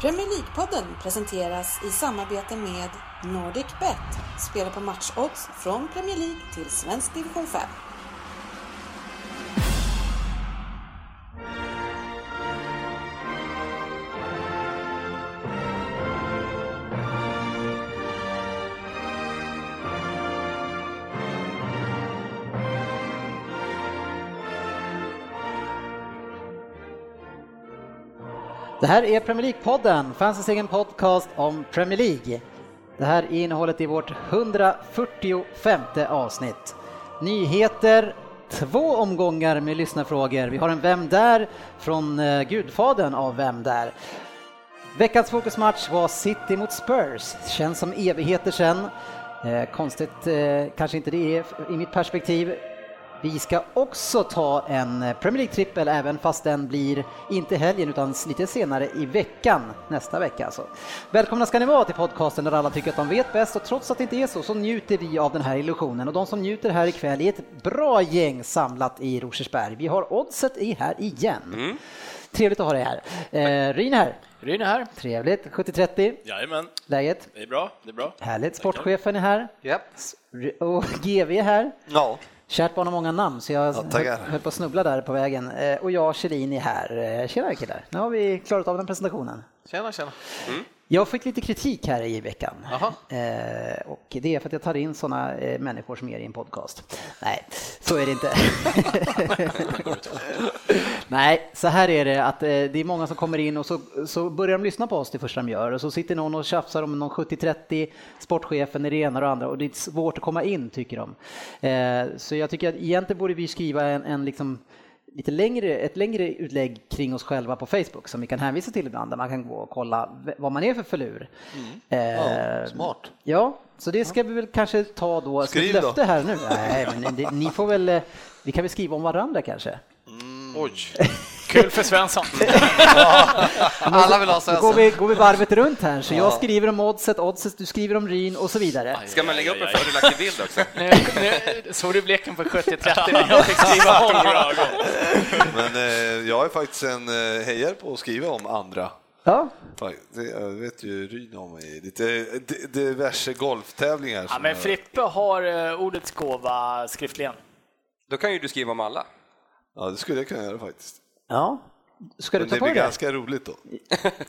Premier League-podden presenteras i samarbete med NordicBet. Spela på matchodds från Premier League till svensk division 5. Det här är Premier League-podden, fansens egen podcast om Premier League. Det här är innehållet i vårt 145 avsnitt. Nyheter, två omgångar med lyssnarfrågor. Vi har en Vem där? från eh, gudfadern av Vem där? Veckans fokusmatch var City mot Spurs. Känns som evigheter sen. Eh, konstigt eh, kanske inte det är i mitt perspektiv. Vi ska också ta en Premier League-trippel även fast den blir inte helgen utan lite senare i veckan, nästa vecka alltså. Välkomna ska ni vara till podcasten där alla tycker att de vet bäst och trots att det inte är så så njuter vi av den här illusionen och de som njuter här ikväll är ett bra gäng samlat i Rosersberg. Vi har oddset i här igen. Trevligt att ha dig här. Eh, Ryn här. Ryn är här. Trevligt. 70-30, Jajamän, läget? det är bra. Det är bra. Härligt. Sportchefen är här. Japp. Och GV är här. Ja. Kärt barn har många namn så jag tackar. höll på att snubbla där på vägen. Eh, Och jag, Kjellin, är här. Eh, Tjena killar, nu har vi klarat av den presentationen. Tjena, tjena. Jag fick lite kritik här i veckan. Jaha. Eh, och det är för att jag tar in sådana eh, människor som er i en podcast. Nej, så är det inte. Nej, så här är det att eh, det är många som kommer in och så, så börjar de lyssna på oss det första de gör och så sitter någon och tjafsar om någon 70-30, sportchefen är det ena och det andra och det är svårt att komma in tycker de. Eh, så jag tycker att egentligen borde vi skriva en, en liksom lite längre, ett längre utlägg kring oss själva på Facebook som vi kan hänvisa till ibland där man kan gå och kolla v- vad man är för förlur. Eh, Ja, smart. Ja, så det ska vi väl kanske ta då som ett Skriv då. löfte här nu. Nej, men det, ni får väl, eh, vi kan väl skriva om varandra kanske. Oj. Kul för Svensson. Alla vill ha Då går Svensson. vi, går vi varvet runt här, så jag skriver om oddset, oddset, du skriver om Ryn och så vidare. Ska man lägga upp en fördelaktig bild också? Nu, nu såg du bleken på 70-30 när jag fick skriva honom. Men eh, jag är faktiskt en eh, hejare på att skriva om andra. Ja, Fan, Det, jag vet ju Ryn om mig. Lite d- diverse golftävlingar. Ja, som men jag- Frippe har eh, ordets gåva skriftligen. Då kan ju du skriva om alla. Ja, det skulle jag kunna göra faktiskt. ja. Ska du Men ta det på dig blir det? ganska roligt då.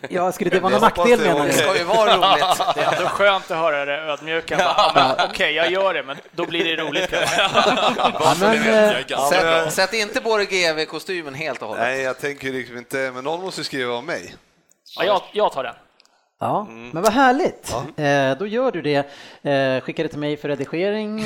Ja, skulle det vara Jag någon hoppas nackdel det är menar du? okej. Det ju vara roligt. Det är ändå skönt att höra det ödmjuka. Bara, Ja, men Okej, jag gör det, men då blir det roligt. grabbar. Ja, men, eh, Sätt, sätt inte på dig GV-kostymen helt och hållet. Nej, jag tänker liksom inte, men någon måste ju skriva om mig. Ja, jag, jag tar den. ja, Mm. men vad härligt. Eh, Då gör du det. Eh, Skicka det till mig för redigering.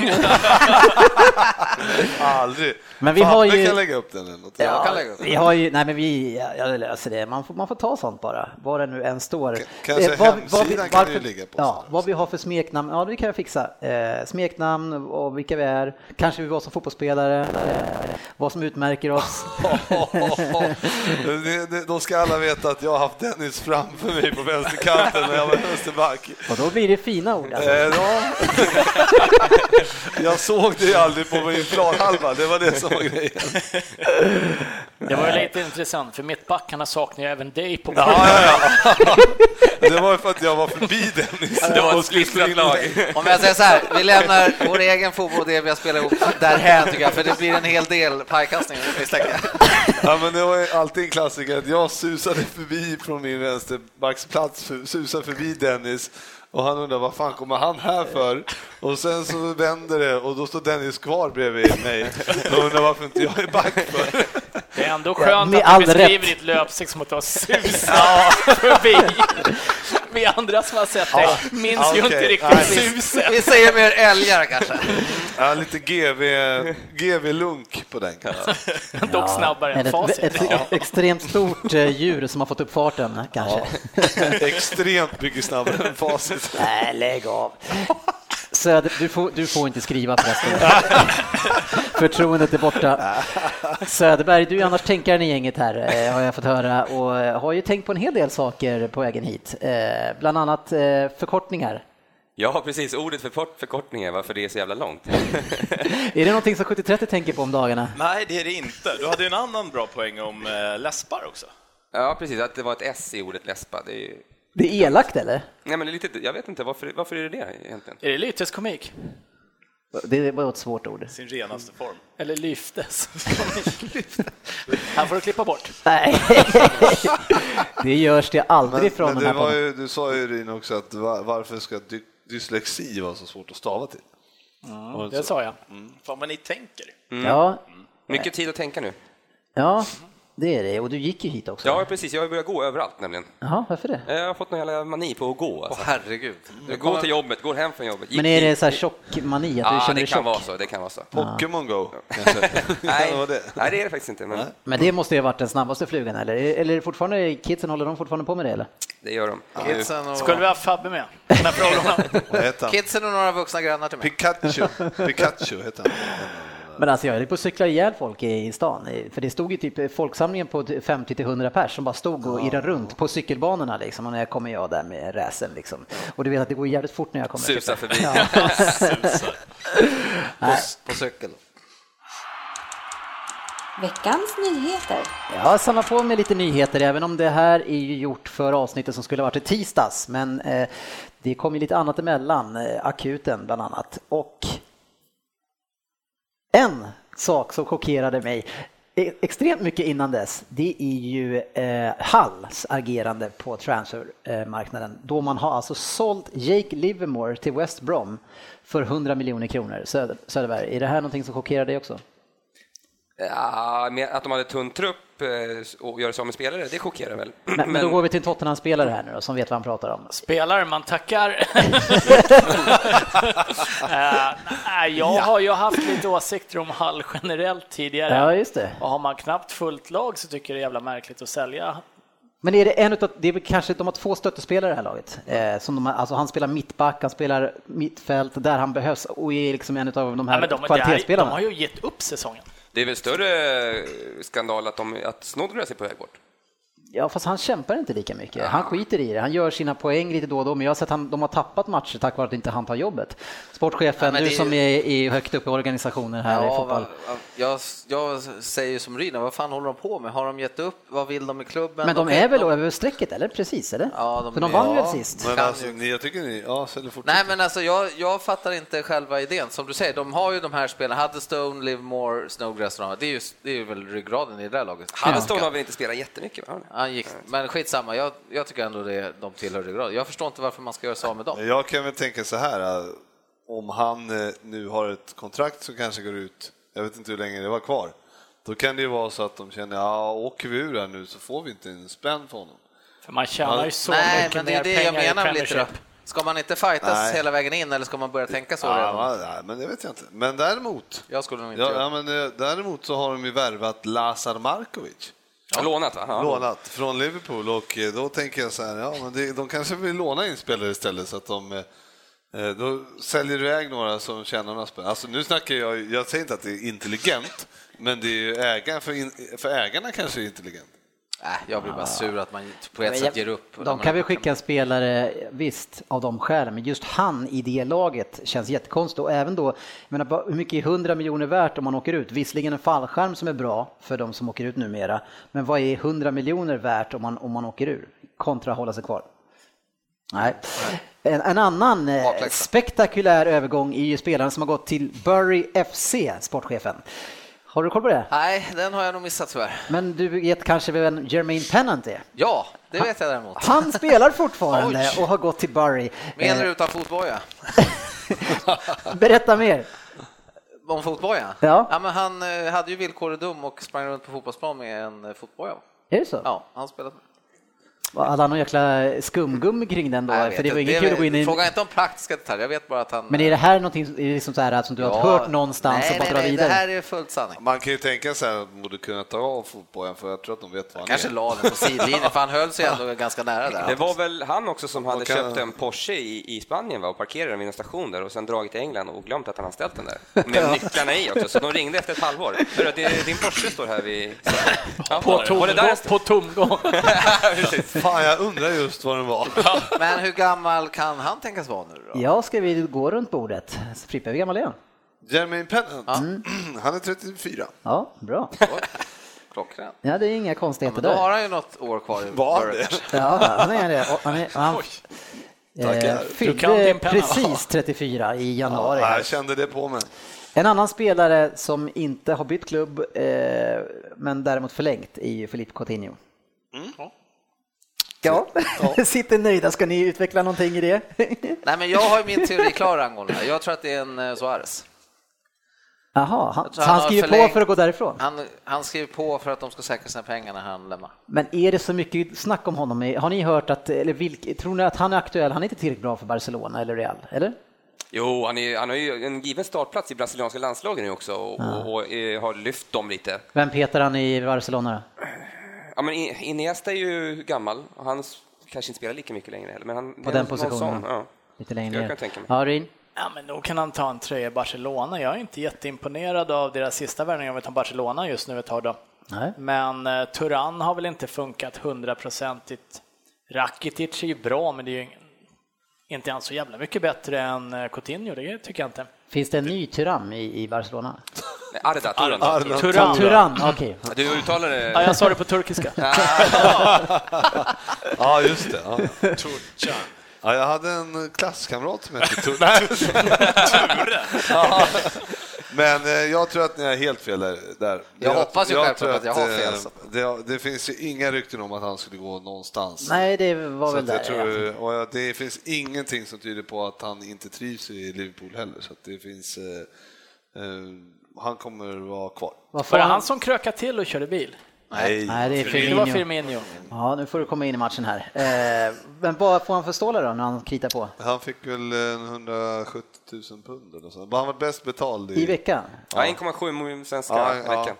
Aldrig. Men vi har ju- Jag kan lägga upp den eller något. Ja. Jag kan lägga upp. Vi har ju, nej men vi, ja, jag löser det. Man får, man får ta sånt bara, var det nu än står. Eh, kanske hemsidan kan ju ligga på Ja, sådär. vad vi har för smeknamn, ja det kan jag fixa. Eh, smeknamn och vilka vi är, kanske vi var som fotbollsspelare, eh, vad som utmärker oss. Det- det- Då ska alla veta att jag har haft Dennis framför mig på vänsterkanten när jag var vänsterback. och då blir det fina ord. Eh, Alltså. ja. Jag såg dig aldrig på min planhalva, det var det som var grejen. Det var ju lite intressant, för mittbackarna saknar ju även dig på Ja, ja, ja. Det var ju för att jag var förbi liksom. Dennis. Det var Och ett skulle splittrat slå in- lag. Om jag säger så här, vi lämnar vår egen fotboll och det vi har spelat ihop därhän tycker jag, för det blir en hel del pajkastningar misstänker jag. Ja, men det var ju alltid en klassiker att jag susade förbi från min vänsterbacksplats, fu- susade förbi Dennis och han undrar vad fan kommer han här för? Och sen så vänder det och då står Dennis kvar bredvid mig och undrar varför inte jag är back för. Det är ändå skönt med att du all beskriver rätt. ditt löpsteg som att du har susat förbi. Vi andra som har sett dig minns ju okej. inte Nej, riktigt visst. suset. Vi säger mer älgar kanske. Ja, lite GV, GV-lunk på den kanske. Dock snabbare Men än ett, facit. ett extremt stort eh, djur som har fått upp farten kanske. Extremt mycket snabbare än facit. Nej, lägg av. Söder, du, får, du får inte skriva förresten. Förtroendet är borta. Söderberg, du är annars tänkaren i gänget här, eh, har jag fått höra, och eh, har ju tänkt på en hel del saker på vägen hit. Eh, Bland annat eh, förkortningar. Ja, precis. Ordet förkort, förkortningar, varför det är så jävla långt. Är det någonting som 7030 tänker på om dagarna? Nej, det är det inte. Du hade ju en annan bra poäng om eh, läspar också. Ja, precis. Att det var ett S i ordet läspa, det är ju Det är elakt eller? Nej, men det är lite, jag vet inte, varför, varför är det det egentligen? Är det lyftes komik? Det var ett svårt ord. sin renaste form. Eller lyftes komik? Han får du klippa bort. Nej, det görs det aldrig från men den det här var podden. ju, du sa ju Ryn också att va- varför ska dy- dyslexi vara så svårt att stava till? Och Det så- sa jag. Fan vad ni tänker. Mm. Ja, Mycket tid att tänka nu. ja, det är det. Och du gick ju hit också. Ja, precis, jag börjar gå överallt nämligen. Jaha, varför det? Jag har fått någon jävla mani på att gå. Åh Alltså. herregud. Jag går till jobbet, går hem från jobbet. gick Men är det hit. så här tjockmani, att du Ja, känner det dig kan tjock? vara så. Det kan vara så. Pokémon Go, kanske? Nej, det var det. nej, det är det faktiskt inte. Men Men det måste ju ha varit den snabbaste flugan, eller? Eller är det fortfarande, kidsen, håller de fortfarande på med det eller? det gör de. Kidsen och, Skulle vi ha Fabbe med? Den här frågan. Vad heter han? Kidsen och några vuxna grannar till mig. Pikachu. Pikachu heter han. Men alltså jag höll på att cykla ihjäl folk i stan, för det stod ju typ folksamlingen på 50-100 pers som bara stod och irrade runt på cykelbanorna liksom, och när jag kommer jag där med räsen liksom. Och du vet att det går jävligt fort när jag kommer. Susar förbi. På, på cykel. Veckans nyheter. Jag samlar på med lite nyheter, även om det här är ju gjort för avsnittet som skulle ha varit i tisdags, men eh, det kom ju lite annat emellan, eh, akuten bland annat. Och en sak som chockerade mig e- extremt mycket innan dess, det är ju eh, Halls agerande på transfermarknaden, då man har alltså sålt Jake Livermore till West Brom för 100 miljoner kronor. Söder, Söderberg, är det här någonting som chockerar dig också? Ja, men att de hade tunn trupp eh, och gör sig av med spelare, det chockerar väl. Men, men då går vi till en Tottenham-spelare här nu då, som vet vad han pratar om. Spelare man tackar. Eh, nej, jag har ju haft lite åsikter om Hall generellt tidigare. Ja, just det. Och har man knappt fullt lag så tycker jag det är jävla märkligt att sälja. Men är det en utav, det är väl kanske, de har två stöttespelare i det här laget. Eh, som de, har- alltså han spelar mittback, han spelar mittfält där han behövs och är liksom en utav de Ja, här men de, det är, de kvalitetsspelarna. har ju gett upp säsongen. Det är väl större eh, skandal att, de, att Snodgrass är på väg bort. Ja, fast han kämpar inte lika mycket. Han skiter i det. Han gör sina poäng lite då och då, men jag har sett att han, de har tappat matcher tack vare att inte han tar jobbet. Ja, Sportchefen, men du det är som ju- är, är högt upp i organisationen här i Ja, fotboll. va, va, jag, jag säger ju som Ryna, vad fan håller de på med? Har de gett upp? Vad vill de med klubben? Men de kan- är väl över strecket, eller? Precis, eller? Ja, de- För de vann väl ja. sist? Men Kan alltså, ju. ni, jag tycker ni, ja, säljer fort. Nej men alltså jag, jag fattar inte själva idén. Som du säger, de har ju de här spelarna, Huddestone, Livermore, Snowgrass och de här. det är, ju, det är ju väl ryggraden i det där laget. Halmstad har väl inte spelat jättemycket? Va? Han gick, men skitsamma, jag, jag tycker ändå det, de tillhör ryggraden. Jag förstår inte varför man ska göra sig av med dem. Jag kan väl tänka så här, eh, om han eh, nu har ett kontrakt som kanske går ut, jag vet inte hur länge det var kvar, då kan det ju vara så att de känner, ja, åker vi ur här nu så får vi inte en spänn för honom. För man tjänar ju så Nej, mycket men det är mer det pengar jag i menar med lite Premiership. då. Ska man inte fightas Nej. hela vägen in eller ska man börja tänka så Ja, redan? va, nej, men det vet jag inte. Men däremot, Jag skulle nog inte ja, göra ja, men, eh, däremot så har de ju värvat Lazar Markovic. Lånat va? Ja. lånat från Liverpool och eh, då tänker jag så här, ja, men det, de kanske vill låna in spelare istället så att de eh, eh, då säljer du iväg några som tjänar några spänn. Alltså nu snackar jag, jag säger inte att det är intelligent, men det är ju ägaren, för, in, för ägarna kanske är intelligent. Nej, Äh, jag blir bara sur Alltså, att man på ett Ah. Men sätt jag- ger upp. De kan väl skicka en spelare, visst, av de skälen, men just han i det laget känns jättekonstigt. Och även då, jag menar, bara hur mycket är 100 miljoner värt om man åker ut? Visserligen en fallskärm som är bra för de som åker ut numera, men vad är 100 miljoner värt om man, om man åker ur? Kontra hålla sig kvar. Nej. En, en annan eh, Bakläxa. spektakulär övergång är ju spelaren som har gått till Bury FC, sportchefen. Har du koll på det? Nej, den har jag nog missat tyvärr. Men du vet kanske vem Jermaine Pennant är? Ja, det vet jag däremot. Han spelar fortfarande och har gått till Bury. Med eller Eh, utan fotboja? Berätta mer. Om fotboja? Ja. ja men han eh, hade ju villkoret dum och sprang runt på fotbollsplan med en eh, fotboja. Är det så? Ja, han spelade. Var alla någon jäkla skumgummi kring den då? Nej, jag vet för det var inte. inget kul att gå in i. Fråga inte om praktiska detaljer, jag vet bara att han... Men är det här någonting är det liksom så här, som du har hört någonstans och nej, bara nej, drar nej, vidare? det här är fullt sanning. Man kan ju tänka så här, de borde kunna ta av fotbollen för jag tror att de vet vad han Kanske är. la den på sidlinjen, för han höll sig ändå ganska nära där. Det var väl han också som hade kan- köpt en Porsche i, i Spanien va? och parkerat den vid en station där och sen dragit till England och glömt att han hade ställt den där. Med nycklarna i också, så de ringde efter ett halvår. Hörru, det, din Porsche står här vid... Ja, På och det där tomgång. På tomgång. Fan, jag undrar just vad den var. Men hur gammal kan han tänkas vara nu då? Ja, ska vi gå runt bordet? Så Frippe, hur gammal är han? Jermaine Pennant, han är 34. Ja, bra. Klockren. Ja, det är inga konstigheter Men då där. har han ju något år kvar i Var Burrow. det? Ja, han är det. Och Han, är, han eh, Tackar. Du kan fyllde din penna, precis 34 i januari. Ja, jag kände det på mig. En annan spelare som inte har bytt klubb, eh, men däremot förlängt, är ju Filipe Coutinho. Ja, sitter nöjda. Ska ni utveckla någonting i det? Nej, men jag har ju min teori klar angående det här. Jag tror att det är en eh, Suarez. Jaha, han, tror så han han har skriver på förlängt. för att gå därifrån. Han, han skriver på för att de ska säkra sina pengar när han lämnar. Men är det så mycket snack om honom? Har ni hört att, eller vilk, tror ni att han är aktuell? Han är inte tillräckligt bra för Barcelona eller Real, eller? Jo, han, är, han har ju en given startplats i brasilianska landslagen nu också och, och, och eh, har lyft dem lite. Vem petar han i Barcelona då? Ja, men I- Iniesta är ju gammal och han s- kanske inte spelar lika mycket längre heller. Men han, På någon den sån, positionen? ja. Lite längre Jag ner. kan tänka mig. Ja, Rin? Ja, men då kan han ta en tröja i Barcelona. Jag är inte jätteimponerad av deras sista värvning om vi tar Barcelona just nu ett tag då. Nej. Men eh, Turan har väl inte funkat hundraprocentigt. Rakitic är ju bra, men det är ju ingen- inte ens så jävla mycket bättre än eh, Coutinho, det tycker jag inte. Finns det en ny Tyram i, i Barcelona? Nej, Arda, Turan. Arda Turan. Tyrann, okej. Du uttalar Ja, det. jag sa det på turkiska. Ja, just det. Ja. Ja, jag hade en klasskamrat som hette Ture. Nej. Ja. Men eh, jag tror att ni har helt fel där. där. Jag hoppas ju självklart tror att jag har fel, eh, så. Det, det finns ju inga rykten om att han skulle gå någonstans. Nej, det var Så väl att där. jag tror, och jag- det finns ingenting som tyder på att han inte trivs i Liverpool heller. Så att det finns, eh, eh, han kommer vara kvar. Vad Var får det han? han som krökade till och körde bil? Nej. Nej, det är Det var Firmino. Firmino. Ja, nu får du komma in i matchen här. Eh, men vad får han för stålar då när han kritar på? Han fick väl en 170 000 pund eller så. Men han var bäst betald i, I veckan? Ja, 1,7 miljoner svenska Ja, i ja. veckan.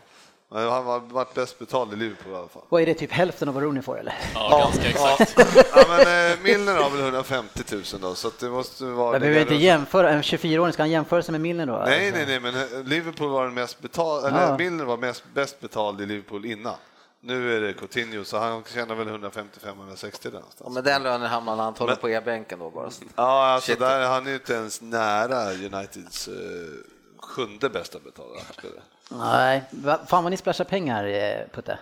Men Han var varit bäst betald i Liverpool i alla fall. Vad är det, typ hälften av vad Rooney får eller? Ja, ganska exakt. Ja, men eh, Milner har väl 150 000 då, så att det måste vara... Jag det behöver där inte runt- jämföra, en 24-åring, ska han jämföra sig med Milner då? Nej, nej, nej, men eh, Liverpool var den mest betald, Ja. eller Milner var mest, bäst betald i Liverpool innan. Nu är det Coutinho, så han tjänar väl 155-160 där Och någonstans. med den lönen hamnar han antagligen på e-bänken då bara. Ja, alltså Shit. där är han ju inte ens nära Uniteds eh, sjunde bästa betalda spelare. Nej, Va- fan vad ni splashar pengar eh, Putte.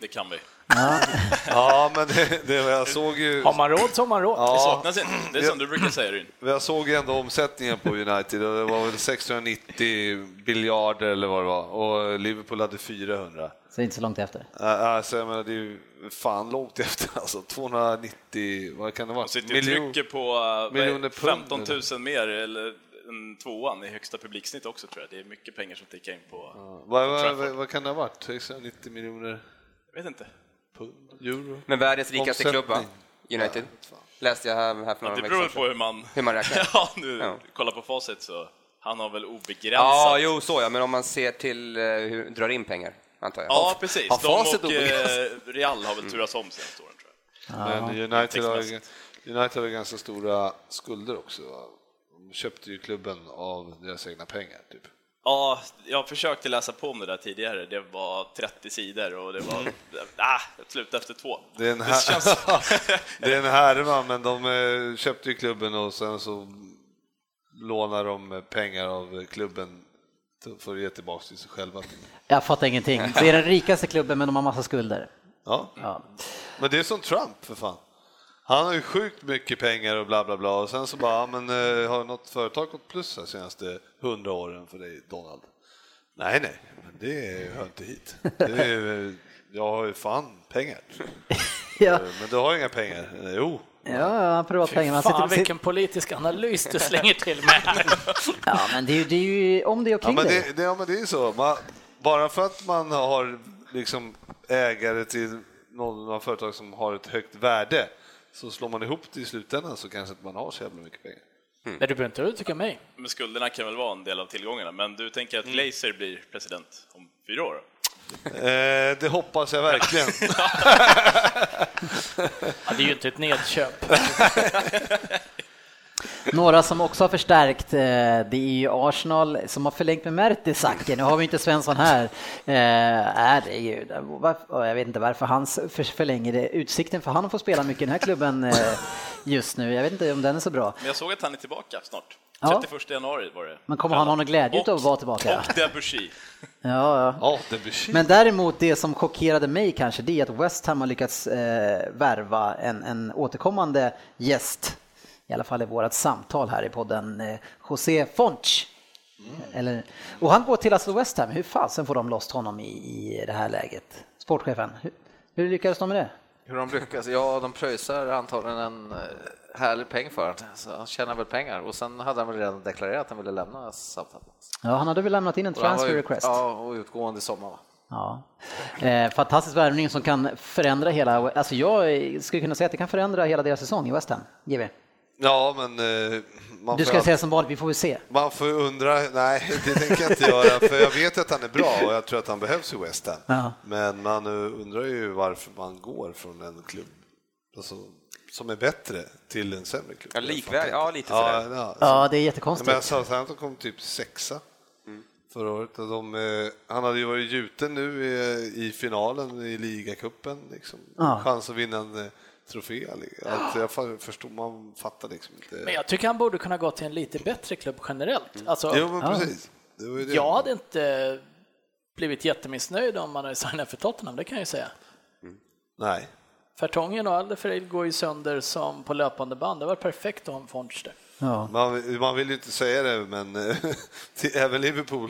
Det kan vi. Ja, men det, det, jag såg ju... Har man råd så har man råd. Ja. Det Alltså, saknas inte. Det är som du brukar säga Ryn. Jag såg ju ändå omsättningen på United och det var väl 690 biljarder eller vad det var och Liverpool hade 400. Så det är inte så långt efter. Äh, Alltså, jag menar, det är ju fan långt efter alltså. 290, vad kan det vara? De sitter ju och trycker på eh, vad är det, miljoner pund, 15 000 mer eller än tvåan i högsta publiksnitt också tror jag. Det är mycket pengar som tickar in på... Vad, vad, Trafford. vad, vad kan det ha varit? 690 miljoner Jag vet inte. pund? Euro? Men världens rikaste Omsättning. klubb, va? United. Läste jag här, här för några Det beror veckor väl på sedan. hur man... Hur man räknar. ja, nu Ja. kolla på facit så. Han har väl obegränsat. Ja, jo, så ja. Men om man ser till eh, hur drar in pengar, antar jag. ja precis. Har De facit och obegränsat? eh, Real har väl turats om senaste åren tror jag. Men United har, ju- Textmässigt. United har ju ganska stora skulder också. va? De köpte ju klubben av deras egna pengar. Typ. Ja, jag försökte läsa på om det där tidigare. Det var 30 sidor och det Mm. var... ah, jag slutade efter två. Det är en, här... det är en härva, men de eh, köpte ju klubben och sen så lånar de eh, pengar av klubben för att ge tillbaka till sig själva. Jag fattar ingenting. Det är den rikaste klubben men de har massa skulder. Ja. Ja. Men det är som Trump för fan. Han har ju sjukt mycket pengar och bla bla bla och sen så bara, ja, men eh, har något företag gått plus de senaste hundra åren för dig Donald? Nej, nej, men det hör inte hit. Det är, ju- jag har ju fan pengar. Ja, Men du har ju inga pengar. Eh, Jo, ja han provar pengar. Han Fan sitter, vilken politisk analys du slänger till med. ja, men det är ju, det är ju om det är Ja, kring men dig. det, det, ja, men det är ju så. Man, bara för att man har liksom ägare till någon av företag som har ett högt värde så slår man ihop det i slutändan så kanske inte man har så jävla mycket pengar. Nej, du behöver inte uttrycka mig. Men skulderna kan väl vara en del av tillgångarna. Men du tänker att Mm. Glazer blir president om fyra år? Eh, det hoppas jag verkligen. Ja, det är ju inte ett nedköp. Några som också har förstärkt, eh, det är ju Arsenal som har förlängt med Mertesacker. Nu har vi inte Svensson här. Eh, Herregud, varför, jag vet inte varför han s- för- förlänger det. Utsikten för han får spela mycket i den här klubben eh, just nu. Jag vet inte om den är så bra. Men jag såg att han är tillbaka snart. Ja. 31 januari var det. Men kommer han ha någon glädje Och- utav att vara tillbaka? Och Debussy. Ja, ja. Ja, det blir Men däremot det som chockerade mig kanske det är att West Ham har lyckats eh, värva en, en återkommande gäst, i alla fall i vårt samtal här i podden, eh, José Fonch. Mm. Eller, och han går till alltså West Ham, hur fasen får de loss honom i, i det här läget? Sportchefen, hur, hur lyckades de med det? Hur de lyckas? Ja, de pröjsar antagligen en eh, härlig peng för honom. Så han tjänar väl pengar. Och sen hade han väl redan deklarerat att han ville lämna Southampton. Ja, han hade väl lämnat in en Och han var transfer ju- request. Ja, och utgående i sommar. va? Ja. Eh, fantastisk värvning som kan förändra hela, alltså jag skulle kunna säga att det kan förändra hela deras säsong i West Ham, GW. Ja, men eh, man Du får ska alltid- säga som vanligt, vi får väl se. Man får undra, nej det tänker jag inte göra för jag vet att han är bra och jag tror att han behövs i West Ham. Ja. Men man eh, undrar ju varför man går från en klubb alltså, som är bättre till en sämre klubb. Ja, likvärdig. Ja, lite ja, sådär. ja, Ja, det är Ja, jättekonstigt. Men Southampton kom typ sexa förra året. Och de, eh, han hade ju varit gjuten nu i, i finalen i ligacupen. Liksom. Ja. Chans att vinna en eh, trofé. Alltså, jag fa- förstod, man fattar liksom inte. Men jag tycker han borde kunna gå till en lite bättre klubb generellt. Alltså, Mm. Jo, men precis. Det var ju det. jag hade inte blivit jättemissnöjd om man hade signat för Tottenham, det kan jag ju säga. Nej. Fertongen och Alderfereid går ju sönder som på löpande band. Det var perfekt att ha en Fonster. Ja. Man, man vill ju inte säga det, men eh, till, även Liverpool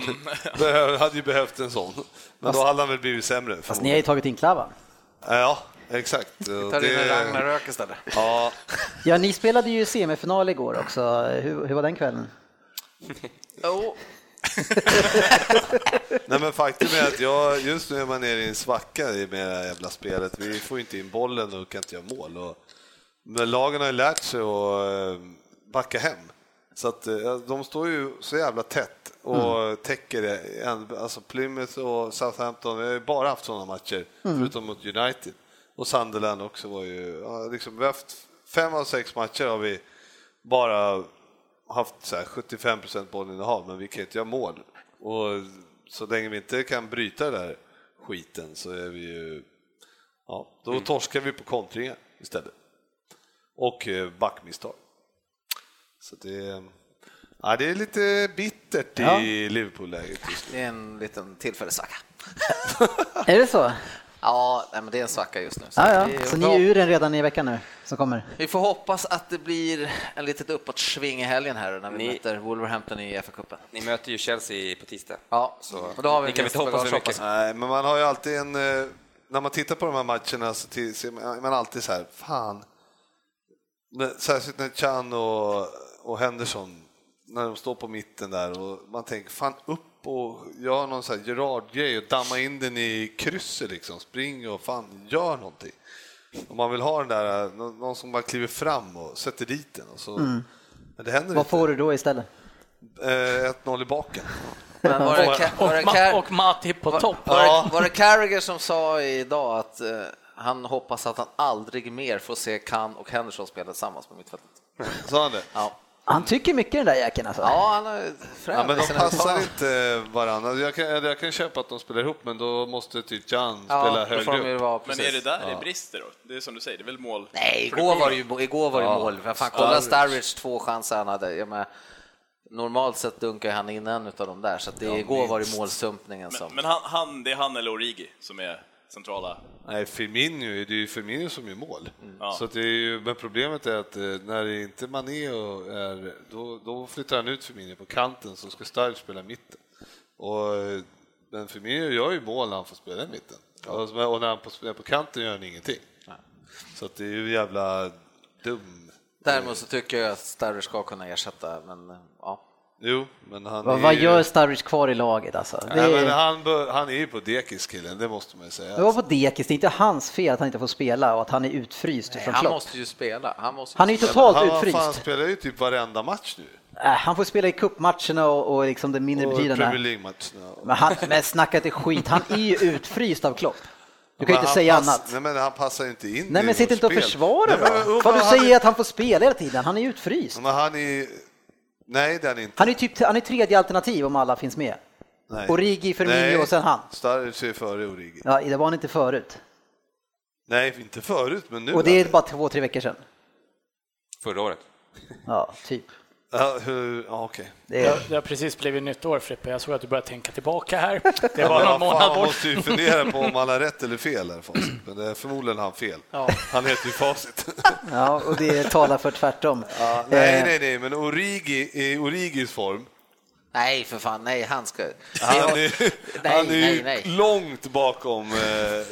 behö- hade ju behövt en sån. Men då hade han väl blivit sämre. Fast ni har ju tagit in Klavan. Ja, exakt. Tar in en Det- Ragnarök istället. Ja, Ja, ni spelade ju semifinal igår också. Hur, hur var den kvällen? Jo, Nej men faktum är att jag, just nu är man nere i en svacka i med det här jävla spelet. Vi får inte in bollen och kan inte göra mål. Och, men lagen har ju lärt sig att eh, backa hem. Så att eh, de står ju så jävla tätt och täcker det. En- Alltså Plymouth och Southampton, vi har ju bara haft sådana matcher, förutom mot United. Och Sunderland också var ju, ja, liksom, vi har haft fem av sex matcher har vi bara haft så här 75 procent bollinnehav, men vi kan ju inte göra mål. Och så länge vi inte kan bryta den där skiten så är vi ju... Ja, då torskar vi på kontringar istället. Och eh, backmisstag. Så det, ja, det är lite bittert Ja. i Liverpool-läget just nu. det är en liten tillfällig svacka. Är det så? Ja, nej, men det är en svacka just nu. Så Ja, ja. vi- Så ni är ur den redan i veckan nu som kommer? Vi får hoppas att det blir en litet uppåtsving i helgen här när vi Ni- möter Wolverhampton i FA-cupen. Ni möter ju Chelsea på tisdag. Ja, Så- och då har vi Ni kan en inte hoppas gästbagage, för mycket. hoppas Nej, men man har ju alltid en... eh, När man tittar på de här matcherna så till- ser man man alltid så här, fan. Men Särskilt när Chan och, och Henderson, när de står på mitten där och man tänker, fan upp och gör någon sån här Gerard-grej och damma in den i krysset liksom. Spring och fan, gör någonting. Om man vill ha den där, eh, nå- någon som bara kliver fram och sätter dit den. Och så, Men det händer Mm. Vad får inte. du då istället? Eh, 1-0 i baken. Men var det, Ca- var, det Ma- Car- och Matip på topp. var, det, var det Carragher som sa idag att eh, han hoppas att han aldrig mer får se Kan och Henderson spela tillsammans på mittfältet? Sa han det? Ja, Han tycker mycket den där jäkeln alltså. ja han är frän Ja, men i de sina passar uttalanden. inte varandra. Jag kan, eller jag kan köpa att de spelar ihop, men då måste typ Jan spela Ja, då får de högre ju upp. vara, Men precis. är det där det brister då? Det är som du säger, det är väl mål? Nej, För igår Bruno. var det ju, igår var det ju Ja. mål. Fan, kolla Sturridge, två chanser han hade. Jag menar, normalt sett dunkar han in en utav dem där, så att det, igår var det målsumpningen som... Men, men han, han, det är han eller Origi som är centrala. Nej, Firmino, det är ju Firmino som gör mål. Ja. Så att det är ju, men problemet är att eh, när det inte Mané och är, då, då flyttar han ut Firmino på kanten så ska Stark spela i mitten. Och, eh, men Firmino gör ju mål när han får spela i mitten. Och, och när han får spela på kanten gör han ingenting. Så att det är ju jävla dum... Däremot så tycker jag att Starry ska kunna ersätta, men eh, ja. Jo, men han Vad, är vad ju... gör Sturridge kvar i laget alltså? Det Nej, men är, han, bör- han är ju på dekis killen, det måste man ju säga. det var på dekis, det är inte hans fel att han inte får spela och att han är utfryst från han Klopp. måste ju spela. Han, måste Han är ju spela. totalt han, utfryst. Han spelar ju typ varenda match nu. Äh, han får spela i cupmatcherna och, och liksom det mindre och betydande. Premier League-matcherna. Men, han, men snacka inte skit, han är ju utfryst av Klopp. Du kan ju Men inte han säga pass- annat. Nej, men han passar ju inte in Nej i men sitt vårt inte och spel. försvara Nej, men- då. Vad du han- säger är att han får spela hela tiden, han är ju utfryst. Men han är Nej, det är han inte. Han är typ han är tredje alternativ om alla finns med. Nej. Origi, Firmino och sen han. Sturridge är före Origi. Ja, det var han inte förut. Nej, inte förut, men nu. Och det är bara två, tre veckor sedan. Förra året. Ja, typ. Ja, hur, ja okej. Det Jag, är, det har precis blivit nytt år Frippe, jag såg att du började tänka tillbaka här. Det var någon Ja, fan, månad man bort. måste ju fundera på om han har rätt eller fel här, Facit. Men det är förmodligen han fel. Han heter ju Facit. ja, och det talar för tvärtom. Ja, nej, Eh, nej, nej, men Origi, i Origis form, Nej, för fan, nej, han ska... han nej, är, han är nej, ju nej. långt bakom eh,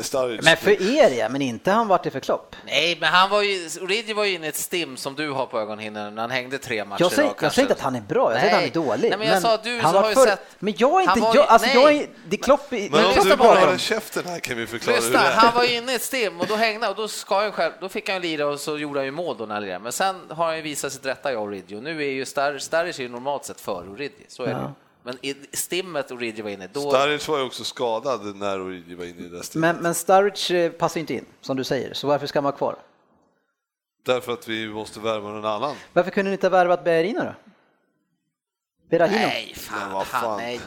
Sturridge. Men för er ja, men inte han vart det för Klopp. Nej, men han var ju, Origi var ju inne i ett stim som du har på ögonhinnan när han hängde tre matcher Jag i säger, rad, jag säger kanske. inte att han är bra, jag säger att han är dålig. Nej, men jag sa att du han har var ju för- sett... Men jag är inte, Han var ju- jag, alltså nej. jag är, det är Klopp, i- Men Klopp om du är bara bakom. håller käften här kan vi förklara Lyssna, hur det är. han var ju inne i ett stim och då hängde och då ska han själv, då fick han lira och så gjorde han ju mål då när han lirade. Men sen har han ju visat sitt rätta jag Origi och nu är ju Star- Sturridge är ju normalt sett för Origi, så är det. Men i stimmet Origi var inne, då... Sturridge var ju också skadad när Origi var inne i det där stimmet. Men, men Sturridge eh, passar ju inte in, som du säger, så varför ska han vara kvar? Därför att vi måste värma någon annan. Varför kunde ni inte ha värvat Berahino då? Berahino? Nej, Men fan, vad fan. han, nej.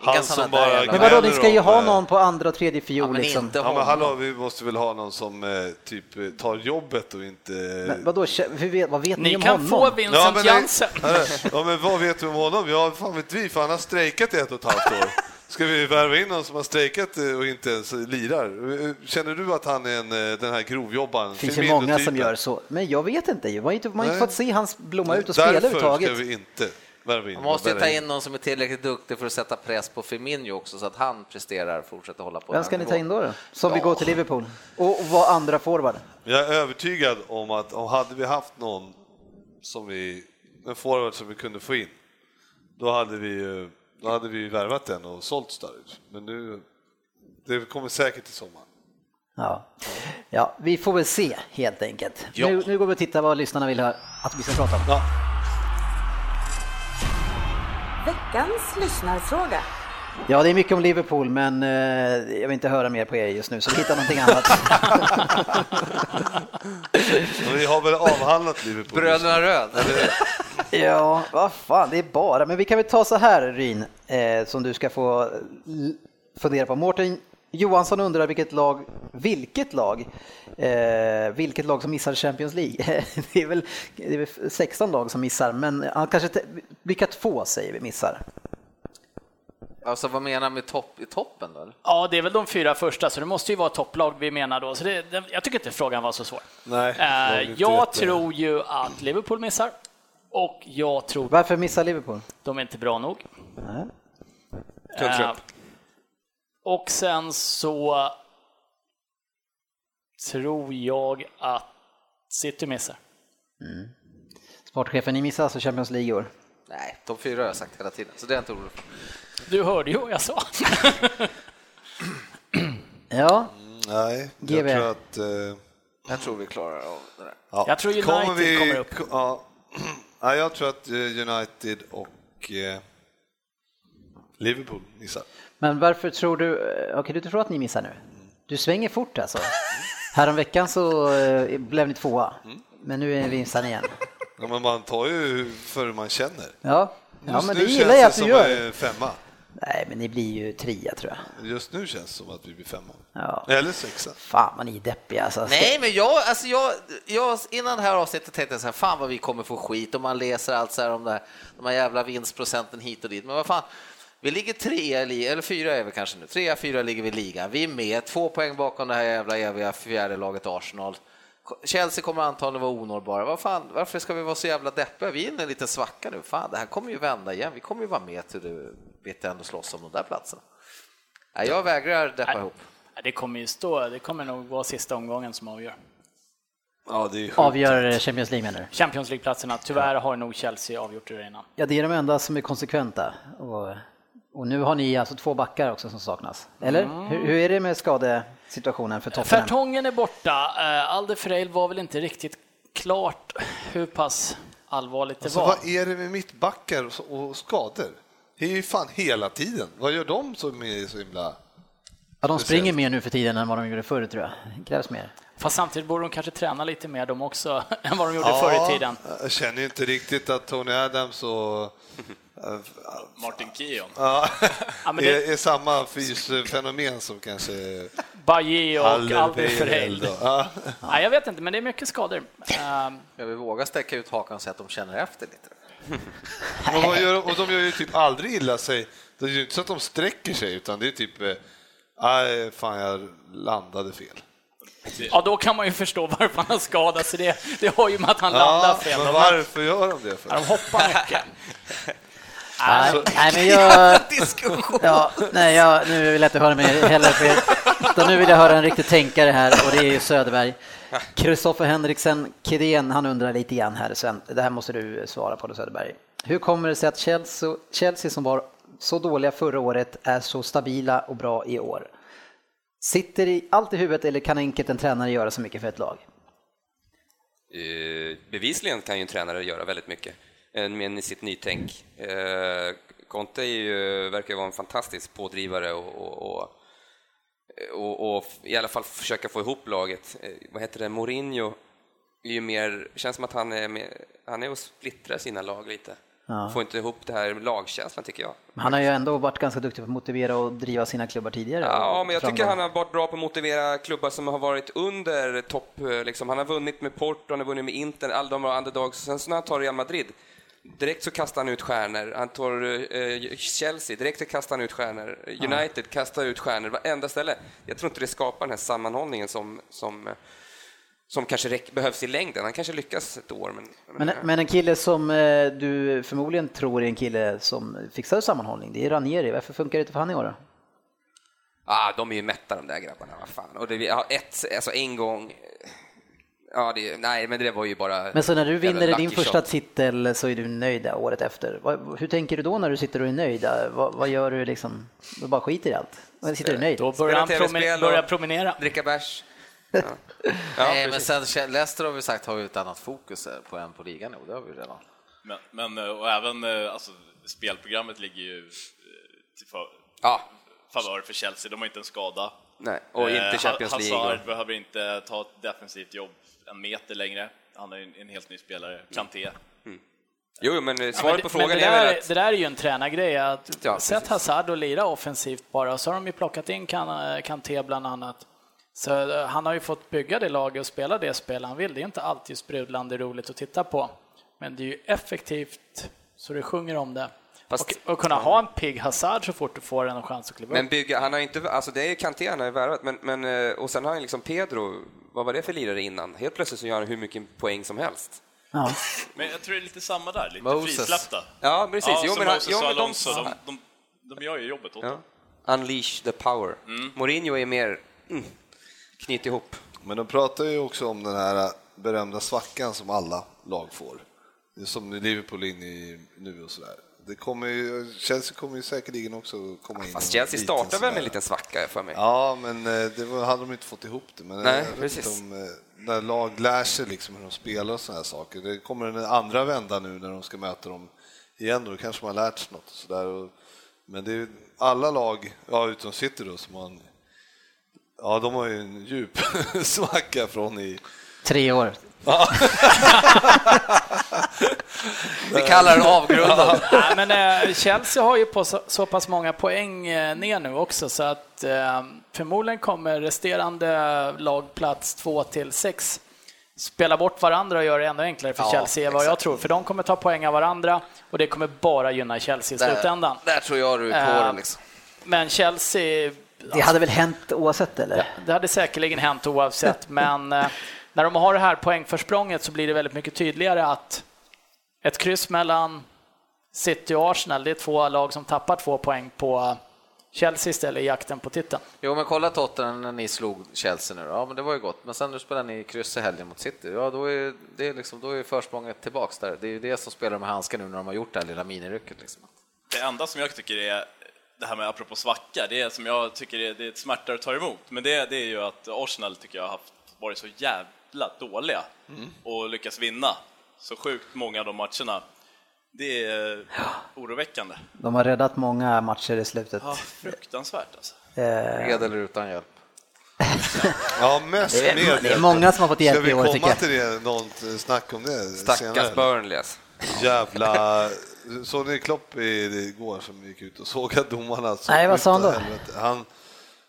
Han Inga såna som där bara- jävla- Men vadå, ni Eller ska ju om, ha eh, någon på andra och tredje Ja, fiol men liksom. inte Ja, men honom. hallå, vi måste väl ha någon som eh, typ eh, tar jobbet och inte... eh, Men vadå, kä- hur vet- vad vet ni, Ni om kan honom? få Ja Vincent men, Jansen. ja, men vad vet vi om honom? Ja, fan vet vi, för han har strejkat i ett och ett halvt år. Ska vi värva in någon som har strejkat eh, och inte ens lirar? Eh, Känner du att han är en, eh, den här grovjobbaren? typ Det finns ju Firmino-typen? många som gör så, men jag vet inte ju. Man har inte, man har inte Nej. fått se hans blomma ut och spela Därför överhuvudtaget. ska vi inte värva in Man måste ju ta Berahino. in någon som är tillräckligt duktig för att sätta press på Firmino också så att han presterar och fortsätter hålla på Vem den ska ni ta nivån. in då? då? Som vill gå till Liverpool? Och, och vara andra forward? Jag är övertygad om att om hade vi haft någon som vi, en forward som vi kunde få in, då hade vi ju- då hade vi ju värvat den och sålt Sturridge. Men nu, det kommer säkert i sommar. Ja. ja, vi får väl se helt enkelt. Nu, nu går vi och tittar vad lyssnarna vill höra att vi ska prata om. Veckans lyssnarfråga. Ja, det är mycket om Liverpool, men eh, jag vill inte höra mer på er just nu, så vi hittar någonting annat. Men vi har väl avhandlat Liverpool. Bröderna Röd. Ja, vad fan, det är bara. Men vi kan väl ta så här Ryn, eh, som du ska få l- fundera på. Mårten Johansson undrar vilket lag, vilket lag, eh, vilket lag som missar Champions League? det, är väl, det är väl 16 lag som missar, men han kanske, te- vilka två säger vi missar? Alltså vad menar du med topp, i toppen då? eller? Ja, det är väl de fyra första, så det måste ju vara topplag vi menar då. Så det, det- jag tycker inte frågan var så svår. Nej, Eh, det var inte jag jätte- tror ju att Liverpool missar och jag tror Varför missar Liverpool? de är inte bra nog. Nej. Eh, och sen så tror jag att City missar. Sportchefen, ni missar alltså Champions League i år? Nej, topp fyra har jag sagt hela tiden, så det är jag inte orolig för. Du hörde ju vad jag sa. Ja, Nej, jag GB. tror att... eh, Jag tror vi klarar av det där. Ja. Jag tror United kommer upp. ko- Ja. Ja, jag tror att eh, United och eh, Liverpool missar. Men varför tror du, eh, okej du tror att ni missar nu? Du svänger fort alltså. Häromveckan så eh, blev ni tvåa, men nu är vi missar ni igen. Ja, men man tar ju för man känner. Ja, ja Just men nu det känns gillar jag att det du som gör. en femma. Nej, men ni blir ju trea tror jag. Just nu känns det som att vi blir femma. Ja. Eller sexa. Fan vad ni är deppiga alltså. Ska- Nej, men jag, alltså jag, jag, innan det här avsnittet tänkte jag så här, fan vad vi kommer få skit om man läser allt så här om det här, de här jävla vinstprocenten hit och dit. Men vad fan, vi ligger trea, i li- eller fyra är vi kanske nu, trea, fyra ligger vi i ligan. Vi är med, två poäng bakom det här jävla eviga fjärde laget Arsenal. Chelsea kommer antagligen vara onåbara. Vad fan, varför ska vi vara så jävla deppiga? Vi är inne i en liten svacka nu. Fan, det här kommer ju vända igen. Vi kommer ju vara med till det bitter ändå slåss om de där platserna. Nej, jag vägrar deppa ihop. Ja, Det kommer ju stå, det kommer nog vara sista omgången som avgör. Ja, det är sjukt. Avgör Champions League menar du? Champions League-platserna, tyvärr har nog Chelsea avgjort det innan. Ja, det är de enda som är konsekventa. Och, och nu har ni alltså två backar också som saknas. Eller? Mm. Hur, hur är det med skadesituationen för Tottenham? Fertongen är borta, Eh, Alder Freil var väl inte riktigt klart hur pass allvarligt det Alltså, var. vad är det med mittbackar och så- och skador? Det är ju fan hela tiden. Vad gör de som är så himla... Ja, de springer mer nu för tiden än vad de gjorde förr tror jag. Det krävs mer. Fast samtidigt borde de kanske träna lite mer de också än vad de gjorde förr i tiden. Jag känner ju inte riktigt att Tony Adams och... Martin Keon. Ja, Ja, men det är, är samma fysfenomen som kanske Bajé och Alder Alderweireld Freil. då. Ja. Nej, jag vet inte, men det är mycket skador. Eh, Jag vill våga sträcka ut hakan så att de känner efter lite. Men vad gör, och de gör ju typ aldrig illa sig. Det är ju inte så att de sträcker sig, utan det är typ, eh, nej, fan jag landade fel. Ja, då kan man ju förstå varför han har skadat sig. Det, det har ju med att han landar Ja, fel. men varför gör de det för? De hoppar mycket. Nej, nej, men jag... Ja, nej, jag, nu vill jag inte höra mer heller. För er. Utan nu vill jag höra en riktig tänkare här och det är ju Söderberg. Kristoffer Henriksen Kedén, han undrar lite igen här Sven. Det här måste du svara på då Söderberg. Hur kommer det sig att Chelsea, Chelsea som var så dåliga förra året är så stabila och bra i år? Sitter i allt i huvudet eller kan enkelt en tränare göra så mycket för ett lag? Eh, bevisligen kan ju en tränare göra väldigt mycket eh, med sitt nytänk. Eh, Conte är ju, verkar ju vara en fantastisk pådrivare och, och, och, och, och i alla fall försöka få ihop laget. Eh, vad heter det, Mourinho är ju mer, känns som att han är, mer, han är och splittrar sina lag lite. Ja. Får inte ihop det här lagkänslan tycker jag. Men Han har ju ändå varit ganska duktig på att motivera och driva sina klubbar tidigare. Ja, och men jag tycker framgång. han har varit bra på att motivera klubbar som har varit under topp. eh, Liksom. Han har vunnit med Porto, han har vunnit med Inter, alla de var underdogs. Sen så när han tar Real Madrid, direkt så kastar han ut stjärnor. Han tar eh, Chelsea, direkt så kastar han ut stjärnor. United kastar ut stjärnor, varenda ställe. Jag tror inte det skapar den här sammanhållningen som, som, eh, som kanske räck, behövs i längden. Han kanske lyckas ett år, men... Men, men en kille som eh, du förmodligen tror är en kille som fixar sammanhållning, det är Ranieri. Varför funkar det inte för han i år då? Ah, de är ju mätta de där grabbarna, vad fan. Och det, ja, ett, alltså en gång... Ja, det, nej, men det var ju bara... Men så när du jävla vinner din lucky första shot. titel så är du nöjd där året efter. Vad, hur tänker du då när du sitter och är nöjd? där? Vad, vad gör du liksom? Du bara skiter i allt? Eller Sitter du nöjd? Då börjar han TV-spel promen- och- börjar promenera. Dricka bärs. Ja. Ja, Nej, men precis. sen Ch- Leicester har vi sagt har ju ett annat fokus eh, på än på ligan nu, det har vi redan. Men, men eh, och även eh, alltså, spelprogrammet ligger ju eh, till fa- ja. favör för Chelsea. De har inte en skada. Nej, och inte Eh, Champions Ha- League. Hazard behöver inte ta ett defensivt jobb en meter längre. Han är ju en, en helt ny Mm. spelare. Kanté. Jo, jo, men eh, Men svaret det- på frågan men det, är där, väl att... det där är ju en tränargrej. Att Ja, sätt precis. Hazard och lira offensivt bara, så har de ju plockat in Kan- eh, Kanté bland annat. Så eh, han har ju fått bygga det laget och spela det spel han vill. Det är inte alltid sprudlande roligt att titta på, men det är ju effektivt så det sjunger om det. Fast- och, och kunna ha en pigg Hazard så fort du får en chans att kliva Men upp. bygga, han har ju inte, alltså det är Kanté han har ju värvat, men, men, eh, och sen har han liksom Pedro, vad var det för lirare innan? Helt plötsligt så gör han hur mycket poäng som helst. Ja. Men jag tror det är lite samma där, lite Moses. frisläppta. Ja, precis. Ja, Jo, som men han- Moses jo, och men de- Alonso, de, de, de gör ju jobbet åt Ja. dem. Unleash the power. Mourinho är mer, mm, knyt ihop. Men de pratar ju också om den här berömda svackan som alla lag får. Det är Som Liverpool in i nu och sådär. Det kommer ju, Chelsea kommer ju säkerligen också komma in. Fast i en Alltså, Chelsea liten startar väl med sådär. en liten svacka, jag för mig. Ja, men eh, det var, hade de inte fått ihop det. Men Nej, jag vet precis. inte om, eh, när lag lär sig liksom hur de spelar och sådana här saker. Det kommer en andra vända nu när de ska möta dem igen. Då kanske man har lärt sig något. Och sådär. Och- Men det är ju alla lag, ja, utom City då, som har en, ja, de har ju en djup svacka från i... Tre år. Vi kallar den avgrunden. Nej, men eh, Chelsea har ju på så, så pass många poäng eh, ner nu också så att eh, förmodligen kommer resterande lagplats 2 till 6 spela bort varandra och göra det ännu enklare för Ja, Chelsea är vad jag exakt. tror. För de kommer ta poäng av varandra och det kommer bara gynna Chelsea i slutändan. Där, där tror jag du är på Eh, det liksom. Men Chelsea, Det hade väl hänt oavsett eller? det hade säkerligen hänt oavsett men eh, när de har det här poängförsprånget så blir det väldigt mycket tydligare att ett kryss mellan City och Arsenal, det är två lag som tappar två poäng på eh, Chelsea istället i jakten på titeln. Jo men kolla Tottenham när ni slog Chelsea nu då. ja men det var ju gott. Men sen nu spelar ni kryss i helgen mot City, ja då är det är liksom, då är försprånget tillbaks där. Det är ju det som spelar med handskar nu när de har gjort det här lilla minirycket liksom. Det enda som jag tycker är, det här med apropå svacka, det är som jag tycker är, det är ett smärtare att ta emot, men det, det är ju att Arsenal tycker jag har haft, varit så jävla dåliga Mm. och lyckas vinna så sjukt många av de matcherna. Det är oroväckande. De har räddat många matcher i slutet. Ja, fruktansvärt alltså. Eh, Med eller utan hjälp. Ja, mest Det är, med det är många som har fått Ska hjälp vi i år tycker komma jag. till det, något eh, snack om det senare? Stackars Burnley alltså. Jävla... Såg ni Klopp i- igår som gick ut och såg att domarna... såg Nej, vad sa han ut av då? helvete? Han,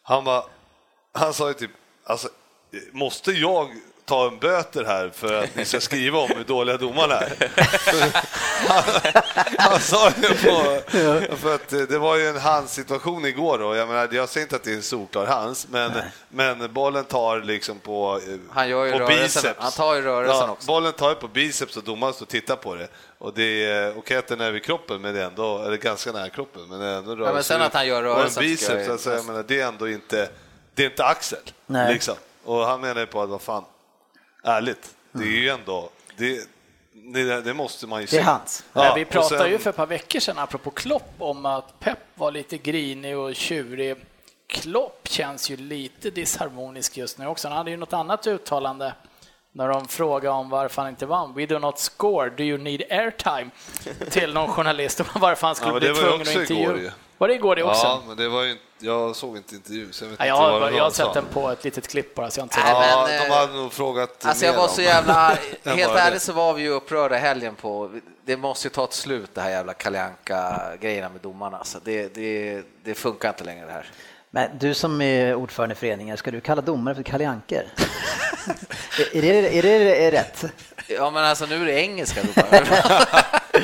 han, bara, han sa ju typ, alltså, måste jag ta en böter här för att ni ska skriva om hur dåliga domarna är? Han sa ju på, för att eh, det var ju en handsituation igår då. Jag menar, jag säger inte att det är en solklar hands, men, men bollen tar liksom på, eh, Han gör ju på rörelsen. Han tar ju rörelsen också. Bollen tar ju på biceps och domaren står och tittar på det. Och det är okej att den är över kroppen, men det är ändå, eller ganska nära kroppen, men det är ändå rörelse. sen att han gör rörelsen Och en tycker jag biceps, är- alltså, jag menar, det är ändå inte, det är inte axel. Nej. Liksom. Och han menar ju på att, vad fan, ärligt, det är ju ändå, det, det, det måste man ju se. Mm. Det är hans. Nej, Ja, vi och pratade sen- ju för ett par veckor sedan, apropå Klopp, om att Pep var lite grinig och tjurig. Klopp känns ju lite disharmonisk just nu också. Han hade ju något annat uttalande när de frågade om varför han inte vann. We do not score, do you need airtime? Till någon journalist om varför han skulle Ja, men bli det var ju tvungen att också igår ju. intervjua. Var det igår det också? Ja, men det var ju inte, jag såg inte intervjun. Så jag vet Nej, jag, inte vad har, det var jag har de sa. sett den på ett litet klipp bara, så jag har inte Nej, sett Ja, men, de eh, hade nog frågat Alltså jag mer var om- så jävla arg. än Helt bara det. ärligt så var vi ju upprörda helgen på, det måste ju ta ett slut det här jävla Kalianka grejerna med domarna. Alltså det, det, det funkar inte längre det här. Men du som är ordförande i föreningen, ska du kalla domare för Kalle Anker? är, är, det, är, det, är det rätt? Ja men alltså nu är det engelska domare.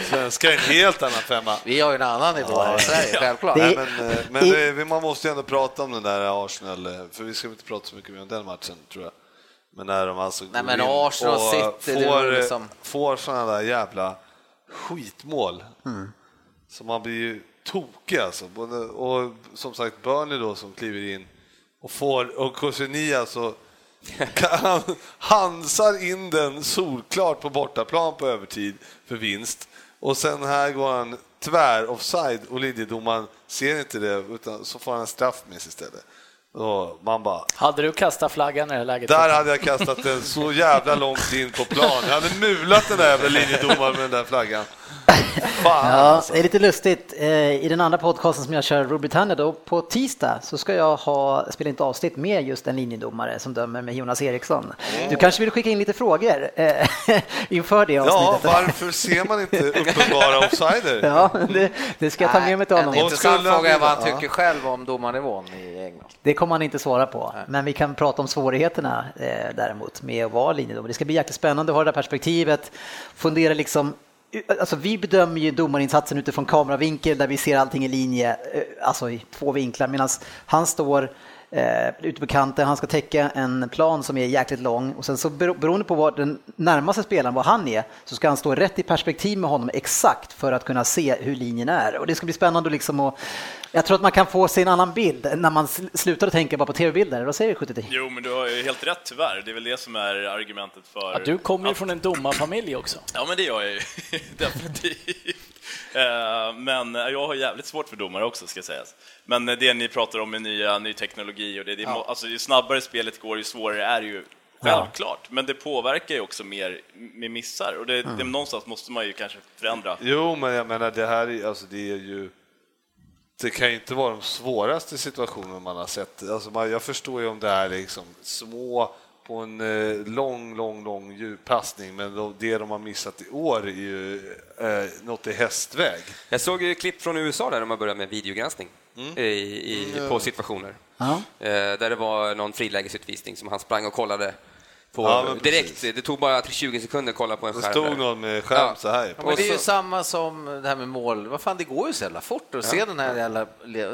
Svenska är en helt annan femma. Vi har ju en annan nivå här i Sverige, självklart. Det- Nej, men eh, men det, vi- man måste ju ändå prata om den där Arsenal, eh, för vi ska väl inte prata så mycket mer om den matchen tror jag. Men när de alltså Nej, går men in Arsenal och City, det var får, ju liksom- får sådana där jävla skitmål. Så man blir ju tokig alltså. Både, och som sagt Burnley då som kliver in och får, och Koscielny alltså kan- han hansar in den solklart på bortaplan på övertid för vinst. Och sen här går han tvär offside och linjedomaren ser inte det utan så får han en straff med sig istället. Och man bara Hade du kastat flaggan i det här läget? där hade jag kastat den så jävla långt in på plan. Jag hade mulat den där jävla linjedomaren med den där flaggan. Ja, Fan alltså. det är lite lustigt. Eh, I den andra podcasten som jag kör, Rule Britannia, då på tisdag så ska jag ha, spela in ett avsnitt med just en linjedomare som dömer med Jonas Eriksson. Du kanske vill skicka in lite frågor eh, inför det Ja, avsnittet? varför ser man inte uppenbara offsider? Ja, det, det ska jag ta med mig till Nej, En honom. intressant skulle han fråga är vad vinna? han tycker själv om domarnivån i England. Det kommer han inte svara på, men vi kan prata om svårigheterna eh, däremot med att vara linjedomare. Det ska bli jäkligt spännande att ha det där perspektivet, fundera liksom Alltså vi bedömer ju domarinsatsen utifrån kameravinkel där vi ser allting i linje, eh, alltså i två vinklar, medan han står eh, ute på kanten, han ska täcka en plan som är jäkligt lång och sen så bero- beroende på var den närmaste spelaren, var han är, så ska han stå rätt i perspektiv med honom exakt för att kunna se hur linjen är. Och det ska bli spännande liksom att, jag tror att man kan få se en annan bild när man sl- slutar att tänka bara på tv-bilder. Vad säger du 73? Jo, men du har ju helt rätt tyvärr. Det är väl det som är argumentet för... Ja, du kommer ju från en domarfamilj också. Ja, men det gör jag ju definitivt. Eh, Men eh, jag har jävligt svårt för domare också, ska sägas. Men eh, det ni pratar om med nya, ny teknologi och det, det är, må- alltså, ju snabbare spelet går, ju svårare är det ju. Självklart, men det påverkar ju också mer med missar och det, Mm. det, någonstans måste man ju kanske förändra. Jo, men jag menar det här är, alltså, det är ju... Det kan ju inte vara de svåraste situationer man har sett. Alltså, man, jag förstår ju om det är liksom små på en eh, lång, lång, lång djuppassning, men då, det de har missat i år är ju eh, något i hästväg. Jag såg ju klipp från USA där de har börjat med videogranskning Mm. i, i, på situationer. Eh, där det var någon frilägesutvisning som han sprang och kollade på Ja, men direkt. precis. Det tog bara 20 sekunder att kolla på en Det skärm. stod där. någon med skärm Ja. så här. Ja, på. men det är ju Och så- samma som det här med mål. Vad fan, det går ju så jävla fort att se den här jävla...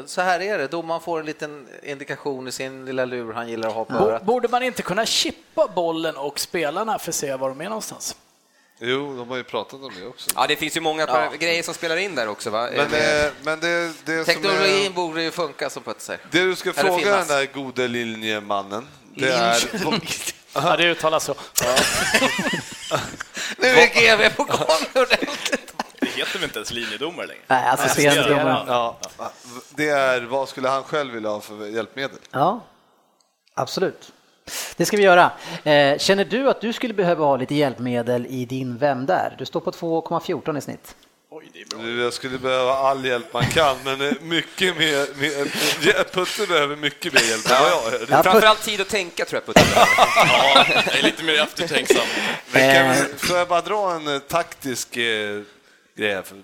Så här är det, domaren får en liten indikation i sin lilla lur han gillar att ha på Bo- örat. Borde man inte kunna chippa bollen och spelarna för att se var de är någonstans? Jo, de har ju pratat om det också. Ja, det finns ju många par- grejer som spelar in där också. Va? Eh, Men, eh, men det, det som är... Teknologin borde ju funka som Putte säger. Det du ska Eller fråga finnas. den där gode liljemannen, det är... Ja, det uttalas så. Nu är GV på gång ordentligt. Det heter väl inte ens linjedomare längre? Nej, alltså det är- scendomare. Ja, det är vad skulle han själv vilja ha för hjälpmedel? Ja, absolut. Det ska vi göra. Eh, Känner du att du skulle behöva ha lite hjälpmedel i din Vem där? Du står på 2,14 i snitt. Oj, det är bra. Du, Jag skulle behöva all hjälp man kan, men eh, mycket mer... mer ja, Putte behöver mycket mer hjälp än vad jag gör. Ja, Putte- Framförallt tid att tänka tror jag Putte behöver. Ja, jag är lite mer eftertänksam. Men kan Eh. vi- Får jag bara dra en eh, taktisk eh, grej här för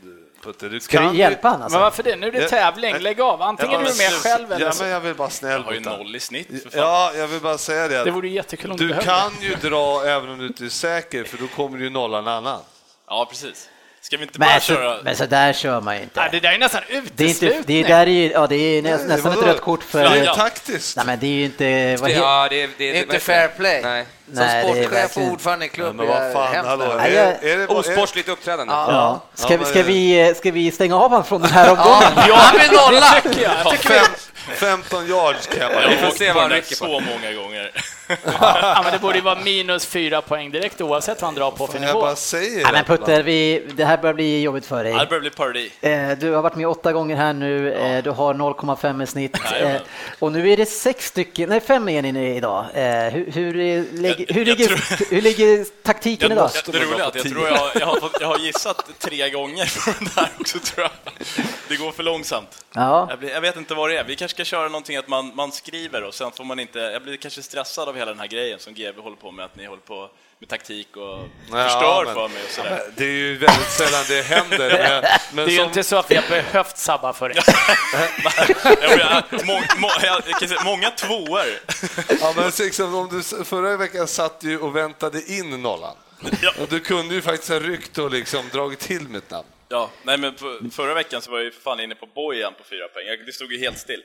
Putte? Du Ska kan du ju- hjälpa honom? Men Alltså? varför det? Nu är det Ja. tävling, lägg av. Antingen Ja, är men du med slut. själv eller Ja, så... men jag vill bara snäll Jag har ju mot honom. noll i snitt, för fan. Ja, jag vill bara säga det. Det att- vore jättekul om du, Du behövde. kan ju dra även om du inte är säker, för då kommer du ju nolla en annan. Ja, precis. Ska vi inte bara alltså, Men så, köra? men så där kör man ju Nej, inte. det där är nästan Det är, inte, det uteslutning. är, där är, ju- ja, det är nä- Nej, nästan ett vadå? rött kort för... Det är ju Flaggan. taktiskt. Nej, men det är ju inte... Vad he- Ja, det, det, det, Det är inte verkligen- fair play. Nej. Som Nej, det är sportchef och verkligen- ordförande i klubben. Men vad fan, hallå. Är, Nej, jag- är det, bara- är, Osportsligt uppträdande. Ja. Ja, Ska, men- ska, vi, eh, ska vi stänga av honom från den här omgången? Han blir nolla! fem, 15 yards kan jag Jag bara. vi har får Mm. åkt se på vad den han där rycker på. så många gånger. Ja, men det borde ju vara minus fyra poäng direkt oavsett vad han drar på för Fan, Jag nivå. bara säger Nej, men det. Putter, vi, det här börjar bli jobbigt för Ja, Det dig. börjar bli parodi. Eh, Du har varit med åtta gånger här nu, eh, du har 0,5 i snitt Jajamän. Eh, och nu är det sex stycken, nej fem är ni nu idag. Eh, Hur, hur, är- lägg- Jag- hur, jag ligger, tror- hur ligger taktiken Jag, idag? jag, det roliga är att jag tror jag, har- jag, har, fått- jag har gissat tre gånger på den där också tror jag. Det går för långsamt. Ja, Jag, blir, jag vet inte vad det är. Vi kanske ska köra någonting att man, man skriver och sen får man inte... Jag blir kanske stressad av hela den här grejen som GB håller på med, att ni håller på med taktik och förstör men- för mig och sådär. Det är ju väldigt sällan det händer. Men, men Det är ju som- inte så att vi har behövt sabba för det. Jag blir, må, må, jag kan säga, många tvåor. Ja, men liksom, om du, förra veckan satt du ju och väntade in nollan. Ja. Och du kunde ju faktiskt ha ryckt och liksom dragit till mitt namn. Ja, nej men på, förra veckan så var jag ju för fan inne på bojan på fyra poäng. Jag- Det stod ju helt still.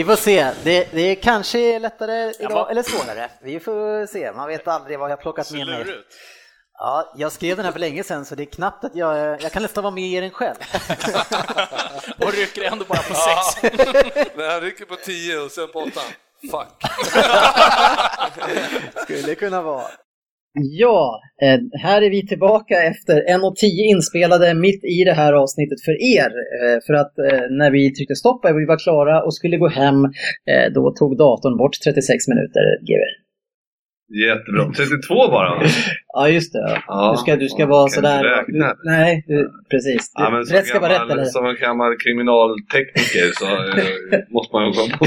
vi får se. Det, det är kanske är lättare idag, vad- eller svårare. Vi får se, man vet aldrig vad jag har plockat med mig. Lurigt. Ja, jag skrev den här för länge sedan så det är knappt att jag, jag kan nästan vara med i den själv. Och rycker ändå bara på sex. Men han rycker på 10 och sen på 8. Fuck. Skulle kunna vara. Ja, eh, här är vi tillbaka efter 1.10 inspelade mitt i det här avsnittet för er. Eh, För att eh, när vi tryckte stopp och vi var klara och skulle gå hem, eh, då tog datorn bort 36 minuter, GW. Jättebra. 32 bara? Ja, just det. Ja, du ska, du ska ja, vara kan du sådär... räkna? Du, nej, du, precis. Du, Ja, men som, rätt ska vara rätt, gammal, eller? som en gammal kriminaltekniker så eh, måste man ju komma på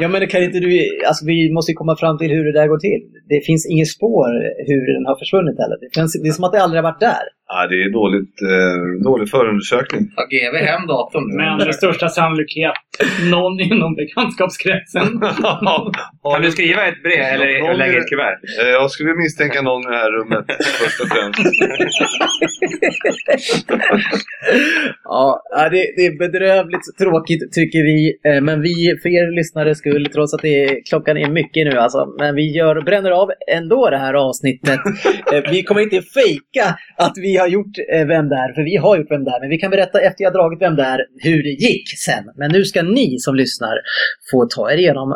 Ja, men kan inte du... Alltså, vi måste ju komma fram till hur det där går till. Det finns inget spår hur den har försvunnit heller. Det, känns, det är som att det aldrig har varit där. ja, Det är dåligt, eh, dålig förundersökning. Ta GV hem datorn nu. Men med största sannolikhet någon inom bekantskapskretsen. Har Kan du- du skriva ett brev Ja, eller någon lägga är- ett kuvert? Eh, Jag skulle misstänka någon i det här rummet först och främst. Ja, ja, det, det är bedrövligt tråkigt tycker vi. Eh, Men vi, för er lyssnare skull, trots att det är, klockan är mycket nu alltså, men vi gör, bränner av ändå det här avsnittet. Eh, Vi kommer inte fejka att vi har gjort eh, Vem där? För vi har gjort Vem där? Men vi kan berätta efter jag dragit Vem där? hur det gick sen. Men nu ska ni som lyssnar få ta er igenom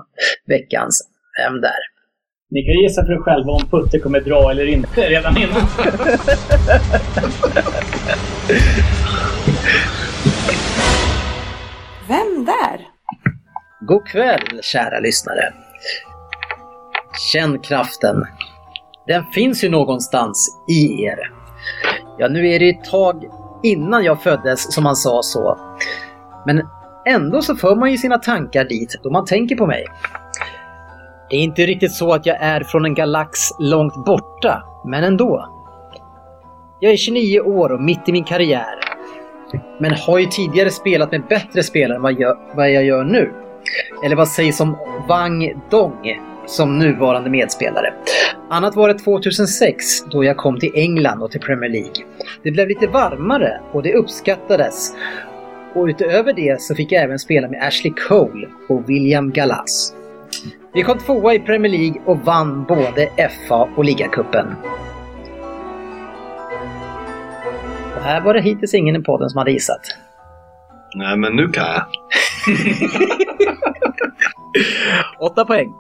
veckans Vem där? Ni kan gissa för er själva om Putte kommer dra eller inte redan innan. Vem där? God kväll, kära lyssnare. Känn kraften. Den finns ju någonstans i er. Ja, nu är det ett tag innan jag föddes som man sa så. Men ändå så för man ju sina tankar dit då man tänker på mig. Det är inte riktigt så att jag är från en galax långt borta, men ändå. Jag är 29 år och mitt i min karriär. Men har ju tidigare spelat med bättre spelare än vad jag, vad jag gör nu. Eller vad sägs om Wang Dong som nuvarande medspelare? Annat var det 2006 då jag kom till England och till Premier League. Det blev lite varmare och det uppskattades. Och utöver det så fick jag även spela med Ashley Cole och William Gallas. Vi kom tvåa i Premier League och vann både FA och ligacupen. Och här var det hittills ingen i podden som hade gissat. Nej, men nu kan jag. Åtta poäng.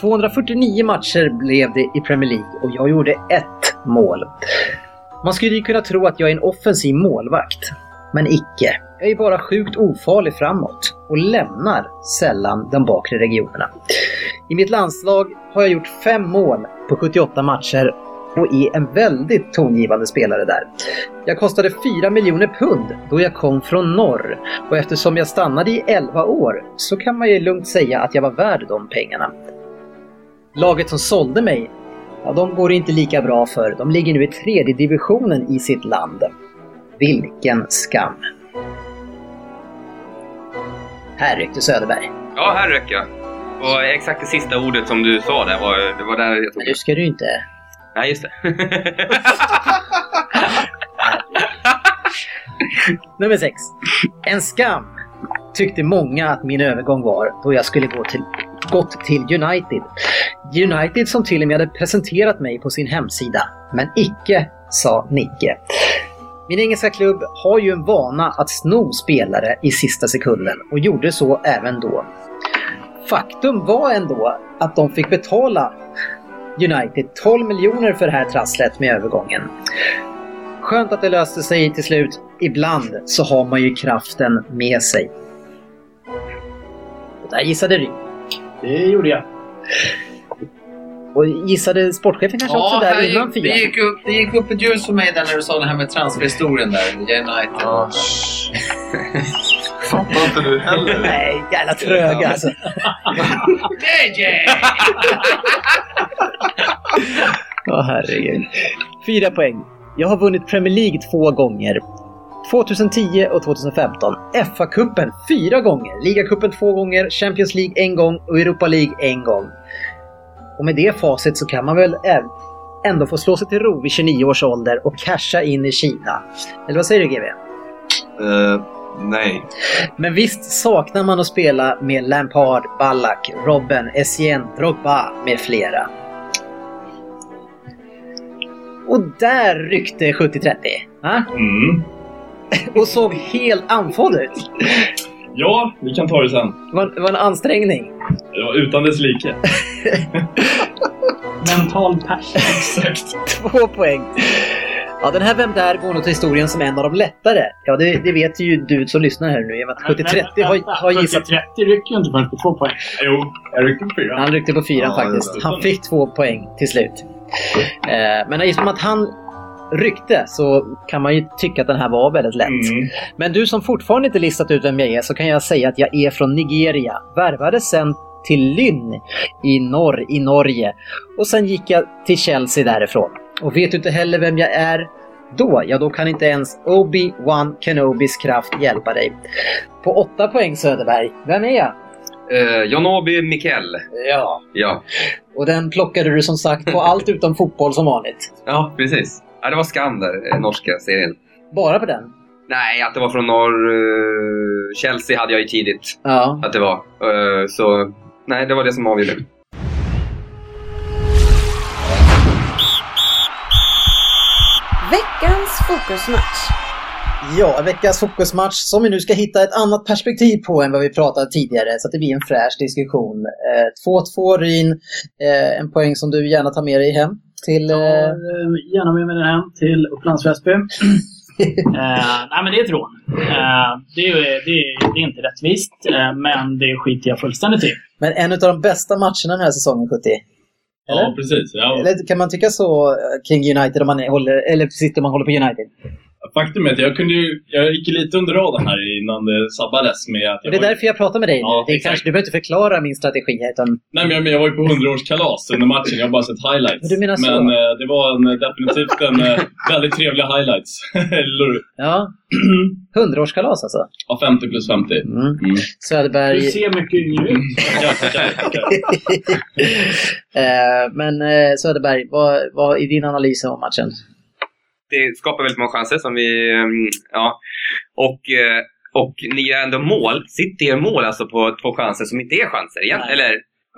249 matcher blev det i Premier League och jag gjorde ett mål. Man skulle ju kunna tro att jag är en offensiv målvakt. Men icke. Jag är bara sjukt ofarlig framåt och lämnar sällan de bakre regionerna. I mitt landslag har jag gjort fem mål på 78 matcher och är en väldigt tongivande spelare där. Jag kostade 4 miljoner pund då jag kom från norr och eftersom jag stannade i 11 år så kan man ju lugnt säga att jag var värd de pengarna. Laget som sålde mig, ja, de går det inte lika bra för. De ligger nu i tredje divisionen i sitt land. Vilken skam! Här ryckte Söderberg. Ja, här rök jag. Och exakt det sista ordet som du sa där var, det var där jag Men tog nu ska du inte... Nej, just det. Nummer sex. En skam tyckte många att min övergång var då jag skulle gå till, gått till United. United som till och med hade presenterat mig på sin hemsida. Men icke, sa Nicke. Min engelska klubb har ju en vana att sno spelare i sista sekunden och gjorde så även då. Faktum var ändå att de fick betala United 12 miljoner för det här trasslet med övergången. Skönt att det löste sig till slut. Ibland så har man ju kraften med sig. Och där gissade du. Det gjorde jag. Och gissade sportchefen kanske också här där gick- innan Fia? Det gick, upp, det gick upp ett ljus för mig där när du sa det här med transferhistorien där, United. Ja. Fattar inte du heller? Nej, jävla tröga alltså. DJ! Ja, herregud. Fyra poäng. Jag har vunnit Premier League två gånger. 2010 och 2015. FA-cupen fyra gånger. Ligacupen två gånger. Champions League en gång och Europa League en gång. Och med det facit så kan man väl äv- ändå få slå sig till ro vid 29 års ålder och casha in i Kina. Eller vad säger du GB? Eh, nej. Men visst saknar man att spela med Lampard, Ballack, Robben, Essien, Drogba med flera. Och där ryckte 70-30. va? Mm. Och såg helt andfådd ut. Ja, vi kan ta det sen. Det var, det var en ansträngning. Ja, utan dess like. Mental pers. Exakt. Två poäng. Ja, den här Vem där går nog till historien som en av de lättare. Ja, det, det vet ju du som lyssnar här nu. i och med att 70-30 har, har gissat Eh. 30 rycker ju inte förrän på två poäng. Jo, jag ryckte på fyra. Han ryckte på fyran Ja, det faktiskt. är Han fick två poäng till slut. Eh, Men eftersom att han ryckte så kan man ju tycka att den här var väldigt lätt. Mm. Men du som fortfarande inte listat ut vem jag är så kan jag säga att jag är från Nigeria. Värvades sen till Lynn i norr i Norge. Och sen gick jag till Chelsea därifrån. Och vet du inte heller vem jag är då? Ja, då kan inte ens Obi-Wan Kenobis kraft hjälpa dig. På åtta poäng Söderberg, vem är jag? Uh, Janobi Mikkel. Ja. Ja, Och den plockade du som sagt på allt utom fotboll som vanligt. ja precis. Ja, det var Skander, eh, norska serien. Bara på den? Nej, att det var från norr. eh, Chelsea hade jag ju tidigt. Ja. Att det var. Eh, så nej, det var det som avgjorde. Veckans fokusmatch. Ja, veckans fokusmatch som vi nu ska hitta ett annat perspektiv på än vad vi pratade tidigare så att det blir en fräsch diskussion. Eh, 2-2 Ryn, eh, en poäng som du gärna tar med dig hem till... Eh... Gärna med mig den hem till Upplands Väsby. eh, nej, men det är ett rån. Eh, det, är, det, är, det är inte rättvist, eh, men det skiter jag fullständigt i. Men en av de bästa matcherna den här säsongen 70. Ja, precis. Eller kan man tycka så eh, kring United om man håller, eller sitter om man håller på United? Faktum är att jag, kunde ju, jag gick lite under radarn här innan det sabbades med att Och jag det är var- därför jag pratar med dig nu. Ja, det är exakt. kanske, du behöver inte förklara min strategi här utan Nej, men jag, men jag var ju på 100-årskalas under matchen. Jag har bara sett highlights. Men du menar så? Men eh, det var en, eh, definitivt en eh, väldigt trevlig highlights. Eller hur? ja. 100-årskalas alltså. Ja, 50 plus 50. Mm. Söderberg... Du ser mycket yngre ut. Eh, Men eh, Söderberg, vad, vad är din analys om matchen? det skapar väldigt många chanser som vi... ehm, Ja. Och, eh, och ni gör ändå mål. City gör mål alltså på två chanser som inte är chanser. Igen. Nej. Eller,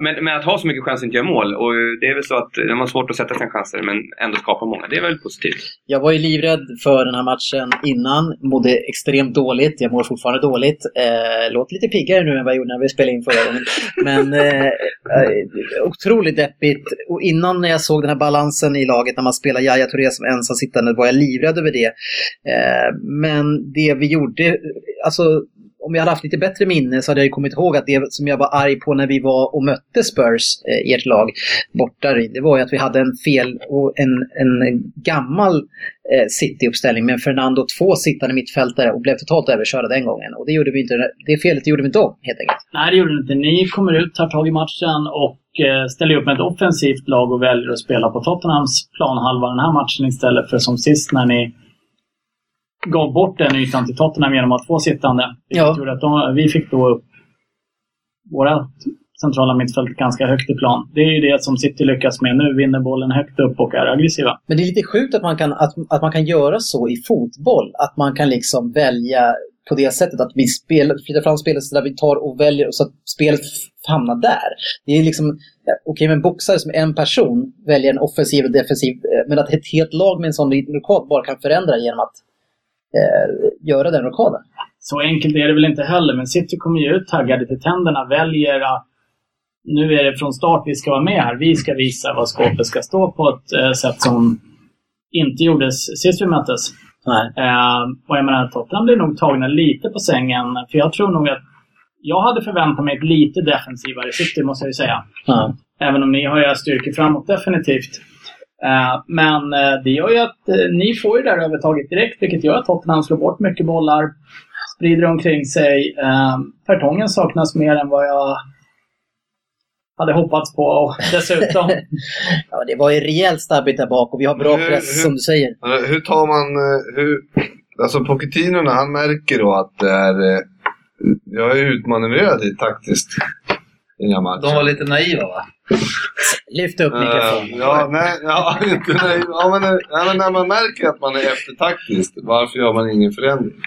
men, men att ha så mycket chanser och inte göra mål. Och eh, det är väl så att de har svårt att sätta sina chanser men ändå skapa många. Det är väldigt positivt. Jag var ju livrädd för den här matchen innan. Mådde extremt dåligt. Jag mår fortfarande dåligt. Eh, låter lite piggare nu än vad jag gjorde när vi spelade in förra gången. Men eh, eh, otroligt deppigt. Och innan när jag såg den här balansen i laget när man spelar Yahya Touré som ensam sittande var jag livrädd över det. Eh, men det vi gjorde, alltså om jag hade haft lite bättre minne så hade jag ju kommit ihåg att det som jag var arg på när vi var och mötte Spurs, eh, ert lag, borta i, det var ju att vi hade en fel och en, en gammal eh, City-uppställning med Fernando två sittande mittfältare och blev totalt överkörda den gången. Och det gjorde vi inte, det felet gjorde vi inte om helt enkelt. Nej, det gjorde det inte. Ni kommer ut, tar tag i matchen och eh, ställer upp med ett offensivt lag och väljer att spela på Tottenhams planhalva den här matchen istället för som sist när ni gav bort den ytan till Tottenham genom att få sittande. Vilket gjorde att de, vi fick då upp våra centrala mittfältet ganska högt i plan. Det är ju det som City lyckas med nu, vinner bollen högt upp och är aggressiva. Men det är lite sjukt att man, kan, att, att man kan göra så i fotboll. Att man kan liksom välja på det sättet att vi spelar, flyttar fram spelet så där vi tar och väljer och så att spelet f- hamnar där. Det är liksom, ja, okej men boxare som en person väljer en offensiv och defensiv, eh, men att ett helt lag med en sån liten rockad bara kan förändra genom att eh, göra den rockaden. Så enkelt är det väl inte heller, men City kommer ju ut taggade till tänderna, väljer att nu är det från start vi ska vara med här. Vi ska visa vad skåpet ska stå på ett eh, sätt som inte gjordes sist vi möttes. Eh, och jag menar, Tottenham blir nog tagna lite på sängen, för jag tror nog att jag hade förväntat mig ett lite defensivare City, måste jag ju säga. Ja. Även om ni har era styrkor framåt, definitivt. Eh, Men eh, det gör ju att eh, ni får ju det här övertaget direkt, vilket gör att Tottenham slår bort mycket bollar, sprider omkring sig. Eh, Vertongen saknas mer än vad jag hade hoppats på. Och dessutom, ja, det var ju rejält stabbigt där bak och vi har bra Hur- press hur- som du säger. Eh, Hur tar man... eh, Hur, alltså Pochettino när han märker då att det är... eh, Jag är utmanövrerad i taktiskt i den här matchen. De var lite naiva va? Lyft upp Eh, ja, nej, ja, inte nej. Ja, men, eh, ja, men när man märker att man är eftertaktiskt, varför gör man ingen förändring?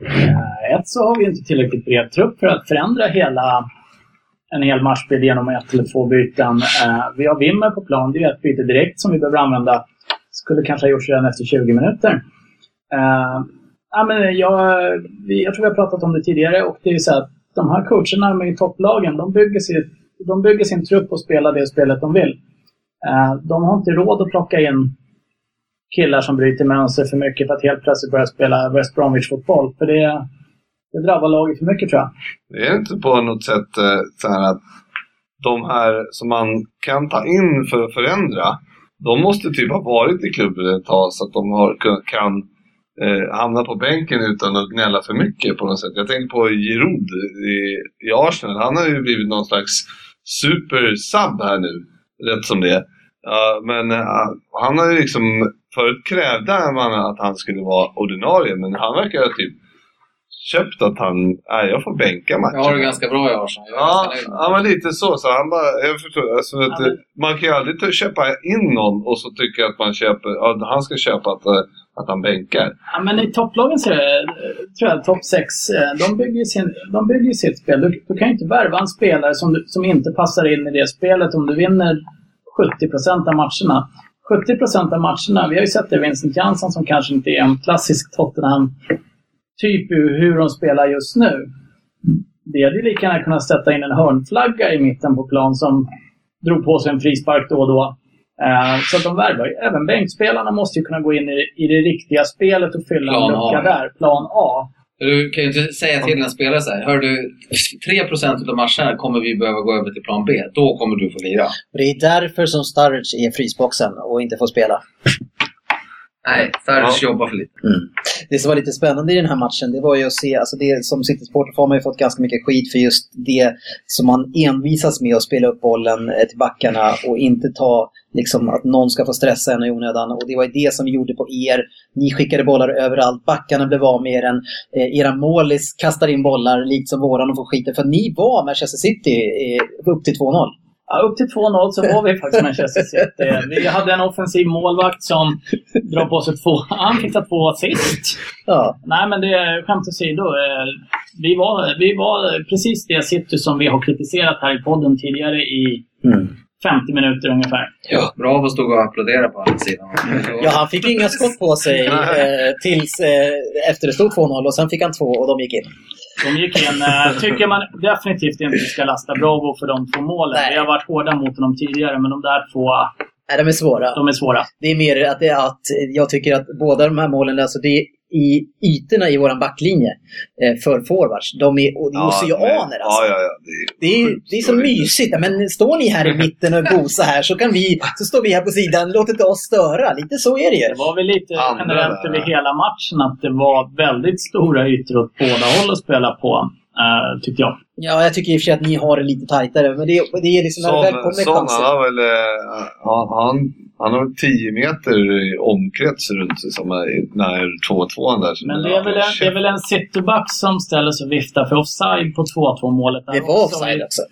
eh, ett så har vi ju inte tillräckligt bred trupp för att förändra hela en hel matchbild genom ett eller två byten. Eh, Vi har Wimmer på plan. Det är ett byte direkt som vi behöver använda. Skulle kanske ha gjorts redan efter 20 minuter. Eh, ja, men jag, vi- jag tror vi har pratat om det tidigare och det är ju så att de här coacherna med i topplagen, de bygger, sin, de bygger sin trupp och spelar det spelet de vill. Eh, De har inte råd att plocka in killar som bryter mönster för mycket för att helt plötsligt börja spela West Bromwich-fotboll. För det, det drabbar laget för mycket tror jag. Det är inte på något sätt eh, så här att de här som man kan ta in för att förändra, de måste typ ha varit i klubben ett tag så att de har, kun- kan eh, hamna på bänken utan att gnälla för mycket på något sätt. Jag tänker på Giroud i, i Arsenal. Han har ju blivit någon slags supersub här nu, rätt som det är. Ja, men eh, han har ju liksom... Förut krävde man att han skulle vara ordinarie, men han verkar ha typ köpt att han, nej jag får bänka matchen. Jag har det ganska bra i Arsenal. Jag är Ja, ganska nöjd. ja, men lite så. så han bara, jag förstår, alltså, att, eh, Man kan ju aldrig ta- köpa in någon och så tycker jag att man köper, ja, han ska köpa att, eh, att han bänkar. Ja, men i topplagen så är det, tror jag, topp 6, de bygger ju, sin, de bygger ju sitt spel. Du, du kan ju inte värva en spelare som, du- som inte passar in i det spelet om du vinner 70 av matcherna. 70 av matcherna, vi har ju sett det Vincent Jansson som kanske inte är en klassisk Tottenham-typ i hur de spelar just nu. Det hade ju lika gärna kunnat sätta in en hörnflagga i mitten på plan som drog på sig en frispark då och då. Eh, Så att de värvar ju. Även bänkspelarna måste ju kunna gå in i i det riktiga spelet och fylla Plan en A, lucka ja. där. Plan A. Du kan ju inte säga till en spelare så här. Hör du, 3% av matcherna kommer vi behöva gå över till plan B. Då kommer du få lira. Och det är därför som Sturridge är i frysboxen och inte får spela. Nej, Sarge jobbar för lite. Det som var lite spännande i den här matchen, det var ju att se, alltså det som City-supporter har man ju fått ganska mycket skit för just det som man envisas med att spela upp bollen eh, till backarna och inte ta liksom att någon ska få stressa en i onödan. Och det var ju det som vi gjorde på er. Ni skickade bollar överallt, backarna blev av med er. Eh, era målis kastar in bollar likt som våran och får skiten. För ni var Manchester City eh, upp till 2-0. Ja, upp till 2-0 så var vi faktiskt Manchester City. Vi hade en offensiv målvakt som drar på sig två... Han fick ta två assist. Ja. Nej, men det är skämt åsido. eh, Vi var, vi var precis det City som vi har kritiserat här i podden tidigare i 50 minuter ungefär. Ja, Bravo stod och applåderade på andra sidan. Ja, han fick inga skott på sig eh, tills eh, efter det stod 2-0 och sen fick han två och de gick in. De gick in. eh, tycker man definitivt inte ska lasta Bravo för de två målen. Vi har varit hårda mot honom tidigare, men de där två... Nej, de är svåra. De är svåra. Det är mer att, det är att jag tycker att båda de här målen, alltså det är i ytorna i våran backlinje eh, för forwards. De är, och det är oceaner alltså. Ja, ja, ja. Det är- Det är, det är så mysigt. Ja, Men står ni här i mitten och gosar här så, kan vi, så står vi här på sidan. Låt inte oss störa. Lite så är det ju. Det var väl lite generellt där. över hela matchen att det var väldigt stora ytor åt båda håll att spela på, eh, tyckte jag. Ja, jag tycker i och för sig att ni har det lite tajtare. Men det, är- det är liksom när det väl Son, kommer Son han chanser. har väl eh, han, han, han har väl 10 meter i omkrets runt sig som är när 2-2 där. Men det är väl en, det är väl en cityback som ställer sig och viftar för offside på 2-2 målet. Där Det var också. offside också.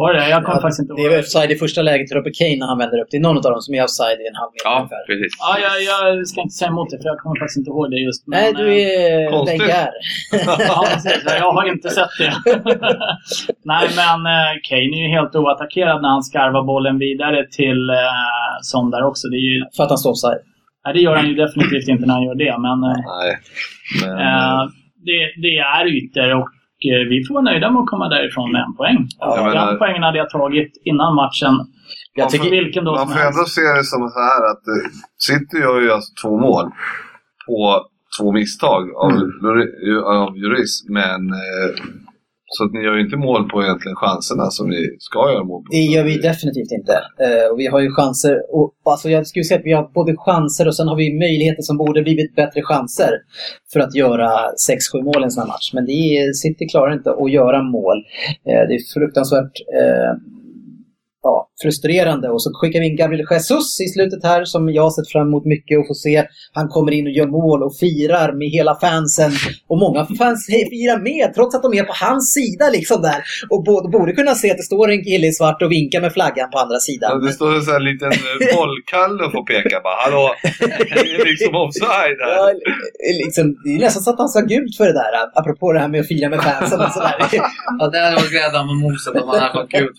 Var det det? Jag kommer Ja, faktiskt inte Det är offside i första läget, Robert Kane, när han vänder upp. Det är någon av dem som är offside i en halv meter ungefär. precis. Ja, jag, jag ska inte säga emot det, för jag kommer faktiskt inte ihåg det just. Nej, du är Konstigt. Wenger. ja, precis. Jag har inte sett det. Nej, men eh, Kane är ju helt oattackerad när han skarvar bollen vidare till eh, Son där också. Det är ju... För att han står offside? Nej, det gör han ju definitivt inte när han gör det, men... eh, eh, Mm. det, det är ytor och eh, vi får vara nöjda med att komma därifrån med en poäng. Ja, jag Den menar- poängen hade jag tagit innan matchen. Man får- vilken då Man som får ändå helst. se det som så här att eh, City gör ju alltså två mål på två misstag av, Mm. Lloris- av Juris, men eh, så att ni gör ju inte mål på egentligen chanserna som ni ska göra mål på. Det gör vi definitivt inte. Eh, och vi har ju chanser. Och, alltså jag skulle säga att vi har både chanser och sen har vi möjligheter som borde blivit bättre chanser för att göra 6-7 mål i en sån här match. Men det är, City klarar inte att göra mål. Eh, det är fruktansvärt eh, ja, frustrerande. Och så skickar vi in Gabriel Jesus i slutet här som jag har sett fram emot mycket och får se. Han kommer in och gör mål och firar med hela fansen. Och många fans firar med trots att de är på hans sida liksom där. Och både borde kunna se att det står en kille i svart och vinkar med flaggan på andra Ja, sidan. Det står en sån här liten eh, bollkalle och får peka bara ”Hallå, det är liksom offside här”. Ja, liksom, det är nästan så att han sa gult för det där, apropå det här med att fira med fansen och sådär. Ja, det hade varit gräddan med moset om man hade fått gult.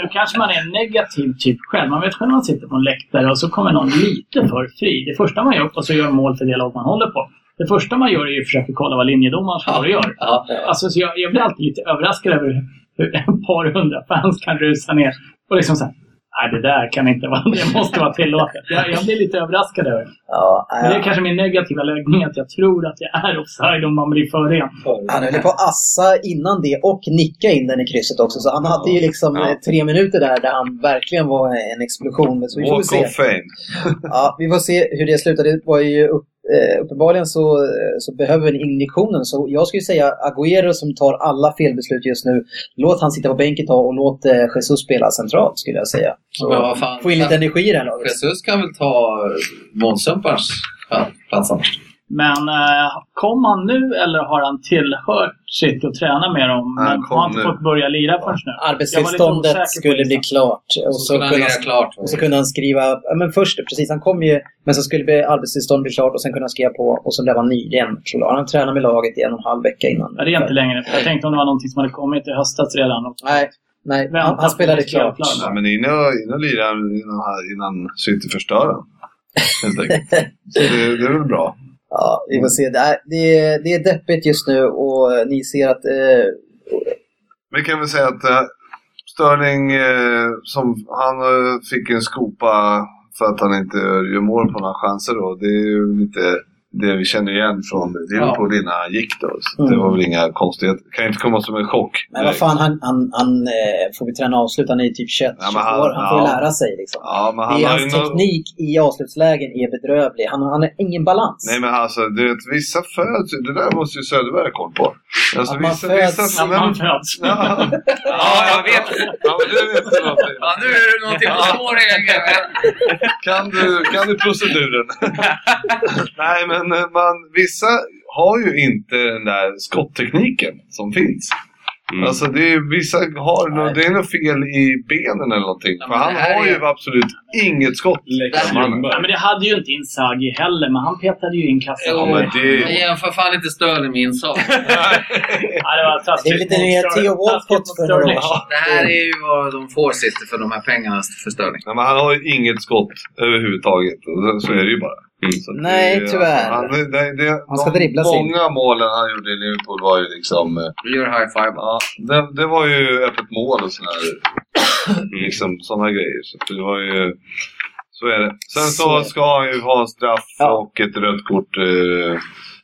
Nu kanske man är en negativ typ själv. Man vet själv när man sitter på en läktare och så kommer någon lite för fri. Det första man gör, och så gör mål för det lag man håller på. Det första man gör är ju att försöka kolla vad linjedomaren står och gör. Alltså, så jag, jag blir alltid lite överraskad över hur ett par hundra fans kan rusa ner och liksom såhär Nej, det där kan inte vara... Det måste vara tillåtet. Jag, jag blir lite överraskad över det. Ja, Men det är kanske min negativa läggning, att jag tror att jag är offside om man blir för ren. Han höll på att assa innan det och nicka in den i krysset också. Så han hade ju liksom Ja. eh, tre minuter där där han verkligen var en explosion. Men Så vi får väl Walk se. of fame. Ja, vi får se hur det slutar. Det var ju upp, eh, uppenbarligen så, eh, så behöver vi injektionen. Så jag skulle säga Agüero som tar alla felbeslut just nu. Låt han sitta på bänken ett tag och låt eh, Jesus spela centralt skulle jag säga. Så Men vad fan, få in lite energi i det här laget. Jesus kan väl ta månsumparens plats annars? Men eh, kom han nu eller har han tillhört sitt och tränat med dem? Han Han kom har han inte nu. fått börja lira förrän nu? Jag var lite Arbetstillståndet osäker på skulle bli klart. Och så, skulle han kunde göra klart. och så kunde han skriva, ja, men först, precis, han kom ju, men så skulle bli- arbetstillståndet bli klart och sen kunde han skriva på och så blev han nyligen klar. Han tränade med laget i en och en halv vecka innan. Ja, det är inte längre. Jag tänkte om det var någonting som hade kommit i höstas redan. Och... Nej, nej Vänta, han, han spelade det är klart. Ja, men in och, in och lira innan, här- innan City förstör den. Helt enkelt. Så det, det är väl bra. Ja, vi får se. Det är, det är, det är deppigt just nu och eh, ni ser att eh, Vi kan väl säga att eh, Sterling, eh, som, han eh, fick en skopa för att han inte gör mål på några chanser då. Det är ju lite det vi känner igen från Liverpool innan han gick då. Så det Mm. var väl inga konstigheter. Det kan ju inte komma som en chock. men vad fan, han, han, han eh, får vi träna avslut. Han är ju typ 21 Ja, men 22 han- år. Han får ju ja. lära sig liksom. Ja, men han det är har ju hans nå- teknik i avslutslägen är bedrövlig. Han, han har ingen balans. Nej men alltså, du vet, vissa föds Alltså, ju- Det där måste ju Söderberg ha koll på. Alltså, Att man föds- att man föds. Ja, ja, jag vet. Ja, men du vet ju någonting. Ja, nu är det någonting som står i en grej. Kan du, kan du proceduren? Nej, men eh, man, vissa har ju inte den där skotttekniken som finns. Mm. Alltså det är, vissa har, nå- det är något fel i benen eller någonting. För men han det här har är- ju absolut inget skott. Nej, liksom- men det hade ju inte Inzaghi heller, men han petade ju in kassan. Ja, men det- Jag jämför fan inte Sterling med Insak. Ja, det var Det är lite mer Theo Walcott för några år sedan. Det här är ju vad de får sitter för de här pengarna för Sterling. Nej, men han har ju inget skott överhuvudtaget. Och Så är det ju bara. Mm. Så att Nej, det är- tyvärr. Han, det, det, Han ska de dribbla sig in. Många målen han gjorde i Liverpool var ju liksom... eh, Vi gör high five. Ja, det, det var ju öppet mål och sådana Mm. liksom, såna grejer. Så att det var ju... Så är det. Sen så ska han ju ha en straff och ett rött kort. eh,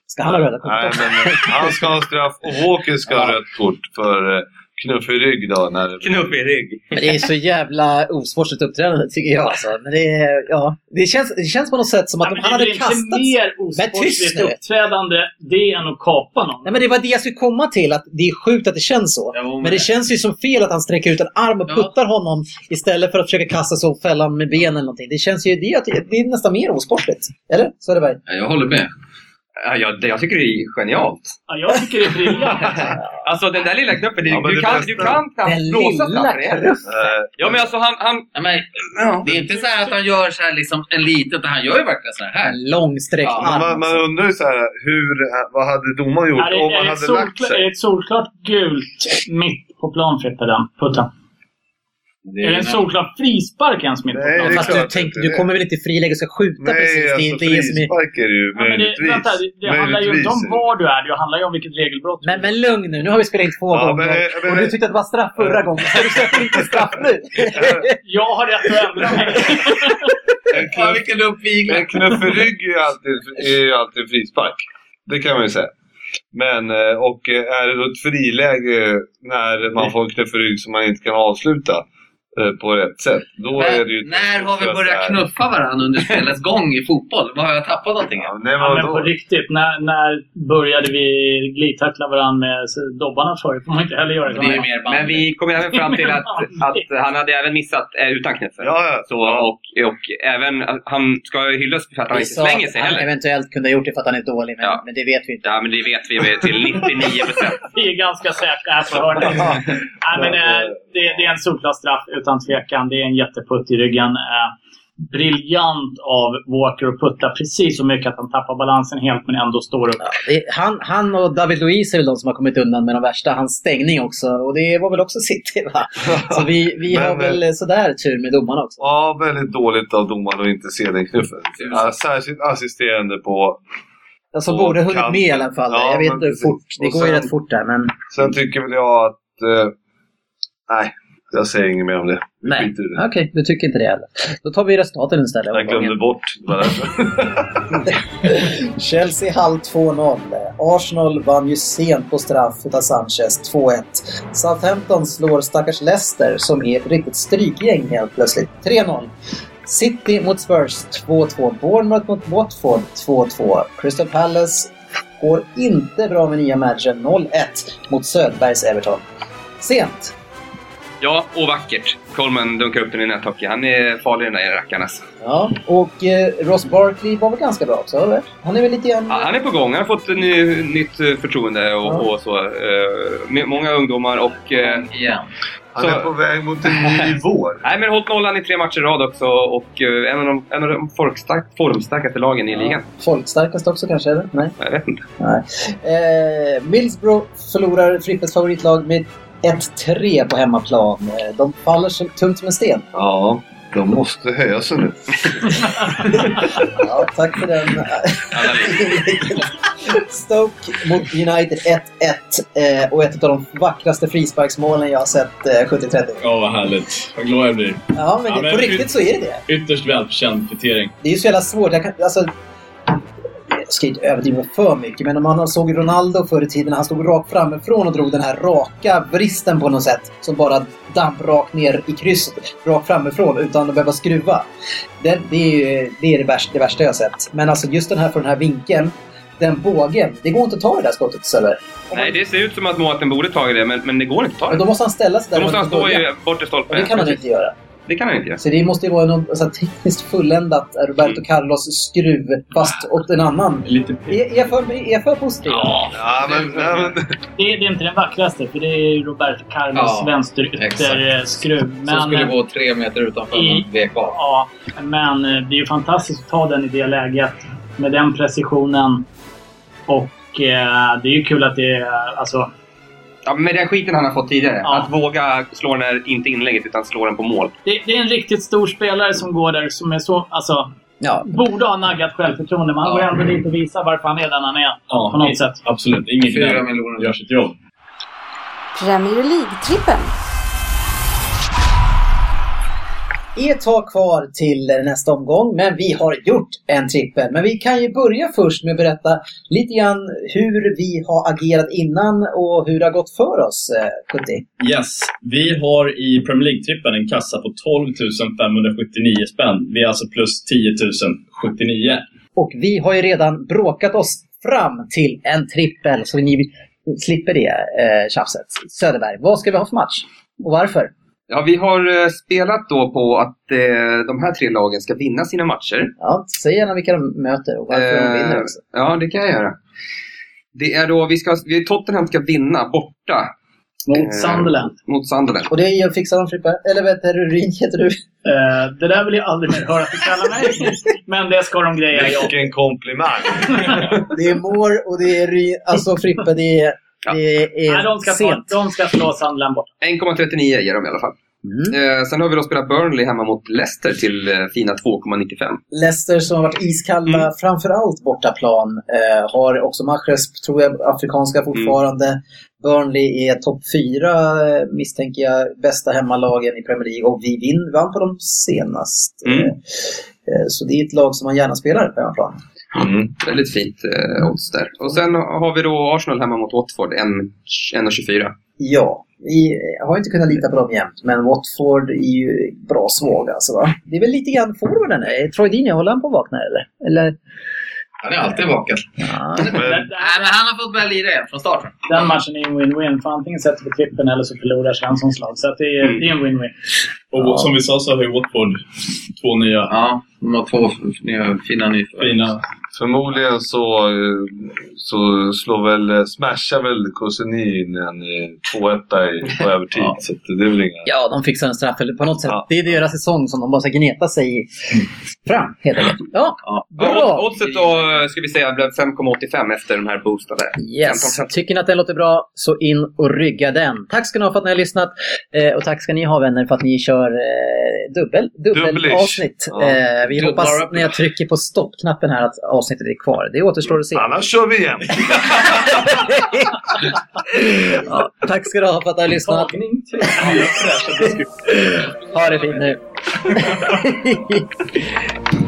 Ska han ha röda kort? Nej, men eh, han ska ha en straff och Walker ska ha rött kort för eh, knuff i rygg då. När... Knuff i rygg? Men Det är så jävla osportsligt uppträdande tycker jag. Alltså. Men det, är, ja, det, känns, det känns på något sätt som att Men han det hade är väl kastats... inte mer Men tyst osportsligt nu! uppträdande det än att kapa någon? Nej, men det var det jag skulle komma till, att det är sjukt att det känns så. men det känns ju som fel att han sträcker ut en arm och puttar honom istället för att försöka kasta sig och fälla honom med benen eller någonting. Det känns ju, det, är- det är nästan mer osportligt. Eller? Söderberg? Ja, Jag håller med. Ja, jag, jag tycker det är genialt. Ja, jag tycker det är briljant. Alltså den där lilla knuppen, Ja, du, men du, det kan, bästa- du kan Den knappt blåsa lilla framför det. Ja men alltså han... han... Det är inte så här att han gör så här liksom en liten, utan han gör ju verkligen så här. Långsträckt arm. Ja, alltså. Man, man undrar ju så här, hur, vad hade domaren gjort Är det, om är, han det ett hade lagt solkla- är det sig? ett solklart gult mitt på plan, Frippe, den putten? är är det en en- solklar frispark ens mitt på plan? Ja, fast du, tänk, du kommer väl inte frilägga och ska skjuta Nej, precis? Det, alltså, det är det som är... frispark är det ju Ja, men det, möjligtvis. vänta, det, det handlar ju inte om var du är, det handlar ju om vilket regelbrott Men, men lugn nu, nu har vi spelat in två Ja, gånger. men, men- och du tyckte att det var straff förra gången, så du släpper inte straff nu. jag har rätt att ändra mig. Vilken uppvigling! En knuff i rygg är ju alltid, är ju alltid frispark. Det kan man ju säga. Men, eh, och eh, är det då ett friläge när man får en knuff i rygg som man inte kan avsluta eh, på rätt sätt, då är det ju... När har vi börjat knuffa varandra under spelets gång i fotboll? Vad Har jag tappat någonting? Ja, nej, Ja, men på riktigt, när, när började vi glidtackla varandra med dobbarna förut? får man inte heller göra det. Men vi kom ju även fram till att, att han hade även missat eh, utan knuffen. Så, och, och även, han ska hyllas för att han Vi inte sa slänger att sig han heller. eventuellt kunde ha gjort det för att han är dålig, men, men det vet vi inte. Ja, men det vet vi väl till 99 procent. Vi är ganska säkra här på hörnet. Nej, men, eh, det, det är en solklar straff utan tvekan. Det är en jätteputt i ryggen. Eh, briljant av Walker att putta precis så mycket att han tappar balansen helt men ändå står upp. Det, han, han och David Luiz är väl de som har kommit undan med de värsta. Hans stängning också. Och det var väl också City, va? Så vi, vi Men, har väl eh, sådär tur med domarna också. Ja, väldigt dåligt av domaren att inte se den knuffen. Ja, särskilt assisterande på... Alltså på borde hunnit kanten. med i alla fall. Ja, jag vet men inte hur precis. fort. Det Och går ju sen- rätt fort där, men... Sen tycker väl jag att... Eh, nej, jag säger inget mer om det. Vi Nej, skiter i det. okej. du tycker inte det heller. Då tar vi resultaten istället. Jag glömde bort. Det var därför. Chelsea halv 2-0. Arsenal vann ju sent på straff utav Sanchez, 2-1. Southampton slår stackars Leicester som är ett riktigt strykgäng helt plötsligt, 3-0. City mot Spurs, 2-2. Bournemouth mot Watford, 2-2. Crystal Palace går inte bra med nya matchen, 0-1 mot Söderbergs Everton. Sent! Ja, och vackert. Coleman dunkar upp den i näthockey. Han är farlig den där rackaren alltså. Ja, och eh, Ross Barkley var väl ganska bra också, eller? Han är väl lite grann... Ja, han är på gång. Han har fått ny, nytt eh, förtroende och, och så. Eh, med många ungdomar och... eh, igen. Han är på väg mot en ny vår. Nej, men hållit nollan i tre matcher i rad också och eh, en av de, en av de folkstark, formstarkaste lagen i ligan. Folkstarkast också kanske, eller? Nej. Jag vet inte. Nej. Eh, Millsbro förlorar Frippes favoritlag med 1-3 på hemmaplan. Eh, De faller som, tungt som en sten. Ja, de måste höja sig nu. Ja, tack för den. Stoke mot United 1-1 eh, och ett av de vackraste frisparksmålen jag har sett eh, 70-30. Ja, vad härligt. Vad glad jag blir. Ja, men, det, på riktigt så är det det. Ytterst välförtjänt kvittering. Det är ju så jävla svårt. Jag, kan, alltså, jag ska inte överdriva för mycket, men om man såg Ronaldo förr i tiden när han stod rakt framifrån och drog den här raka bristen på något sätt som bara damp rakt ner i krysset, rakt framifrån utan att behöva skruva. Det, det är ju det, är det, värsta, det värsta jag har sett. Men alltså just den här från den här vinkeln, den bågen, det går inte att ta det där skottet Söder. Nej, det ser ut som att Mårten borde tagit det, men, men det går inte att ta Men det. då måste han ställa sig där. Då måste han och stå börja. i bortre och stolpen. det kan han inte göra. Det kan han inte göra. Så det måste ju vara något så här, tekniskt fulländat eh, Roberto Mm. Carlos skruv fast åt en annan. Lite... Är, är, för, är jag för positiv? Ja, men, Det, det är inte den vackraste, för det är ju Roberto Carlos Ja, vänsterytterskruv. Som skulle Men, gå tre meter utanför I- men vek av. ja, men eh, det är ju fantastiskt att ta den i det läget med den precisionen. Och eh, det är ju kul att det är... Alltså, Ja, med den skiten han har fått tidigare. Ja. Att våga slå den här, inte inlägget, utan slå den på mål. Det, det är en riktigt stor spelare som går där som är så... Alltså, Borde ha naggat självförtroende, men han går ändå dit och visar varför han är den han är. Ja, på något sätt. Absolut. Ingen gnäll. Gör sitt jobb. Premier League-trippen. är ett tag kvar till nästa omgång, men vi har gjort en trippel. Men vi kan ju börja först med att berätta lite grann hur vi har agerat innan och hur det har gått för oss, eh, Putti. Yes. Vi har i Premier League-trippen en kassa på 12 579 spänn. Vi är alltså plus 10 079. Och vi har ju redan bråkat oss fram till en trippel, så ni slipper det eh, tjafset. Söderberg, vad ska vi ha för match? Och varför? Ja, vi har eh, spelat då på att eh, de här tre lagen ska vinna sina matcher. Ja, säg gärna vilka de möter och varför de Eh, vinner också. Ja, det kan jag göra. Det är då vi ska, vi- Tottenham ska vinna borta. Mot Sunderland. Mot Sunderland. Och det fixar de Frippe. Eller vet du, Ruin heter du. Eh, det där vill jag aldrig mer höra att du kallar mig. Men det ska de greja. Vilken komplimang! Det är Mår och det är Ruin. Alltså Frippe, det är, det är Nej, de ska, ta, sent. de ska slå Sunderland bort. 1,39 ger de i alla fall. Mm. Eh, sen har vi då spelat Burnley hemma mot Leicester till eh, fina 2,95. Leicester som har varit iskalla, Mm. framförallt bortaplan, eh, har också Mahrez, tror jag, Mm. afrikanska fortfarande. Burnley är topp fyra, eh, misstänker jag, bästa hemmalagen i Premier League och vi vin, vann på dem senast. Mm. Eh, så det är ett lag som man gärna spelar på hemmaplan. Väldigt fint eh, odds där. Och sen har vi då Arsenal hemma mot Watford, 1 1,24. Ja, vi har inte kunnat lita på dem jämt, men Watford är ju bra svaga. Alltså, va? Det är väl lite grann forwarden, eh, Troy Dini, håller han på att vakna eller? eller? Han är alltid vaken. Nej, men han har fått börja lira igen från starten. Den matchen är en win-win. För antingen sätter vi trippen eller så förlorar Svenssons lag. Så att det, är, det är en win-win. Mm. Och som vi sa så har ju Watford två nya. Ja, de har två nya, fina nyförvärv. Fina. Förmodligen så, eh, så slår väl, smashar väl Koseni in en i 2-1 i- på övertid. Så att det är väl inga... Ja, de fixar en straff eller på något sätt. Det är deras säsong som de bara ska gneta sig fram, helt enkelt. Ja, Bra! Oddset då, eh, ska vi säga, blev 5,85 efter den här boosten där. Yes. Tycker ni att den låter bra, så in och rygga den. Tack ska ni ha för att ni har lyssnat. Eh, och tack ska ni ha vänner för att ni kör eh, dubbel, dubbelavsnitt. Ja. Eh, vi Dubbla hoppas upp. när jag trycker på stoppknappen här att avsnittet är kvar. Det återstår att se. Annars kör vi igen. ja, tack ska du ha för att du har lyssnat. ha det fint nu.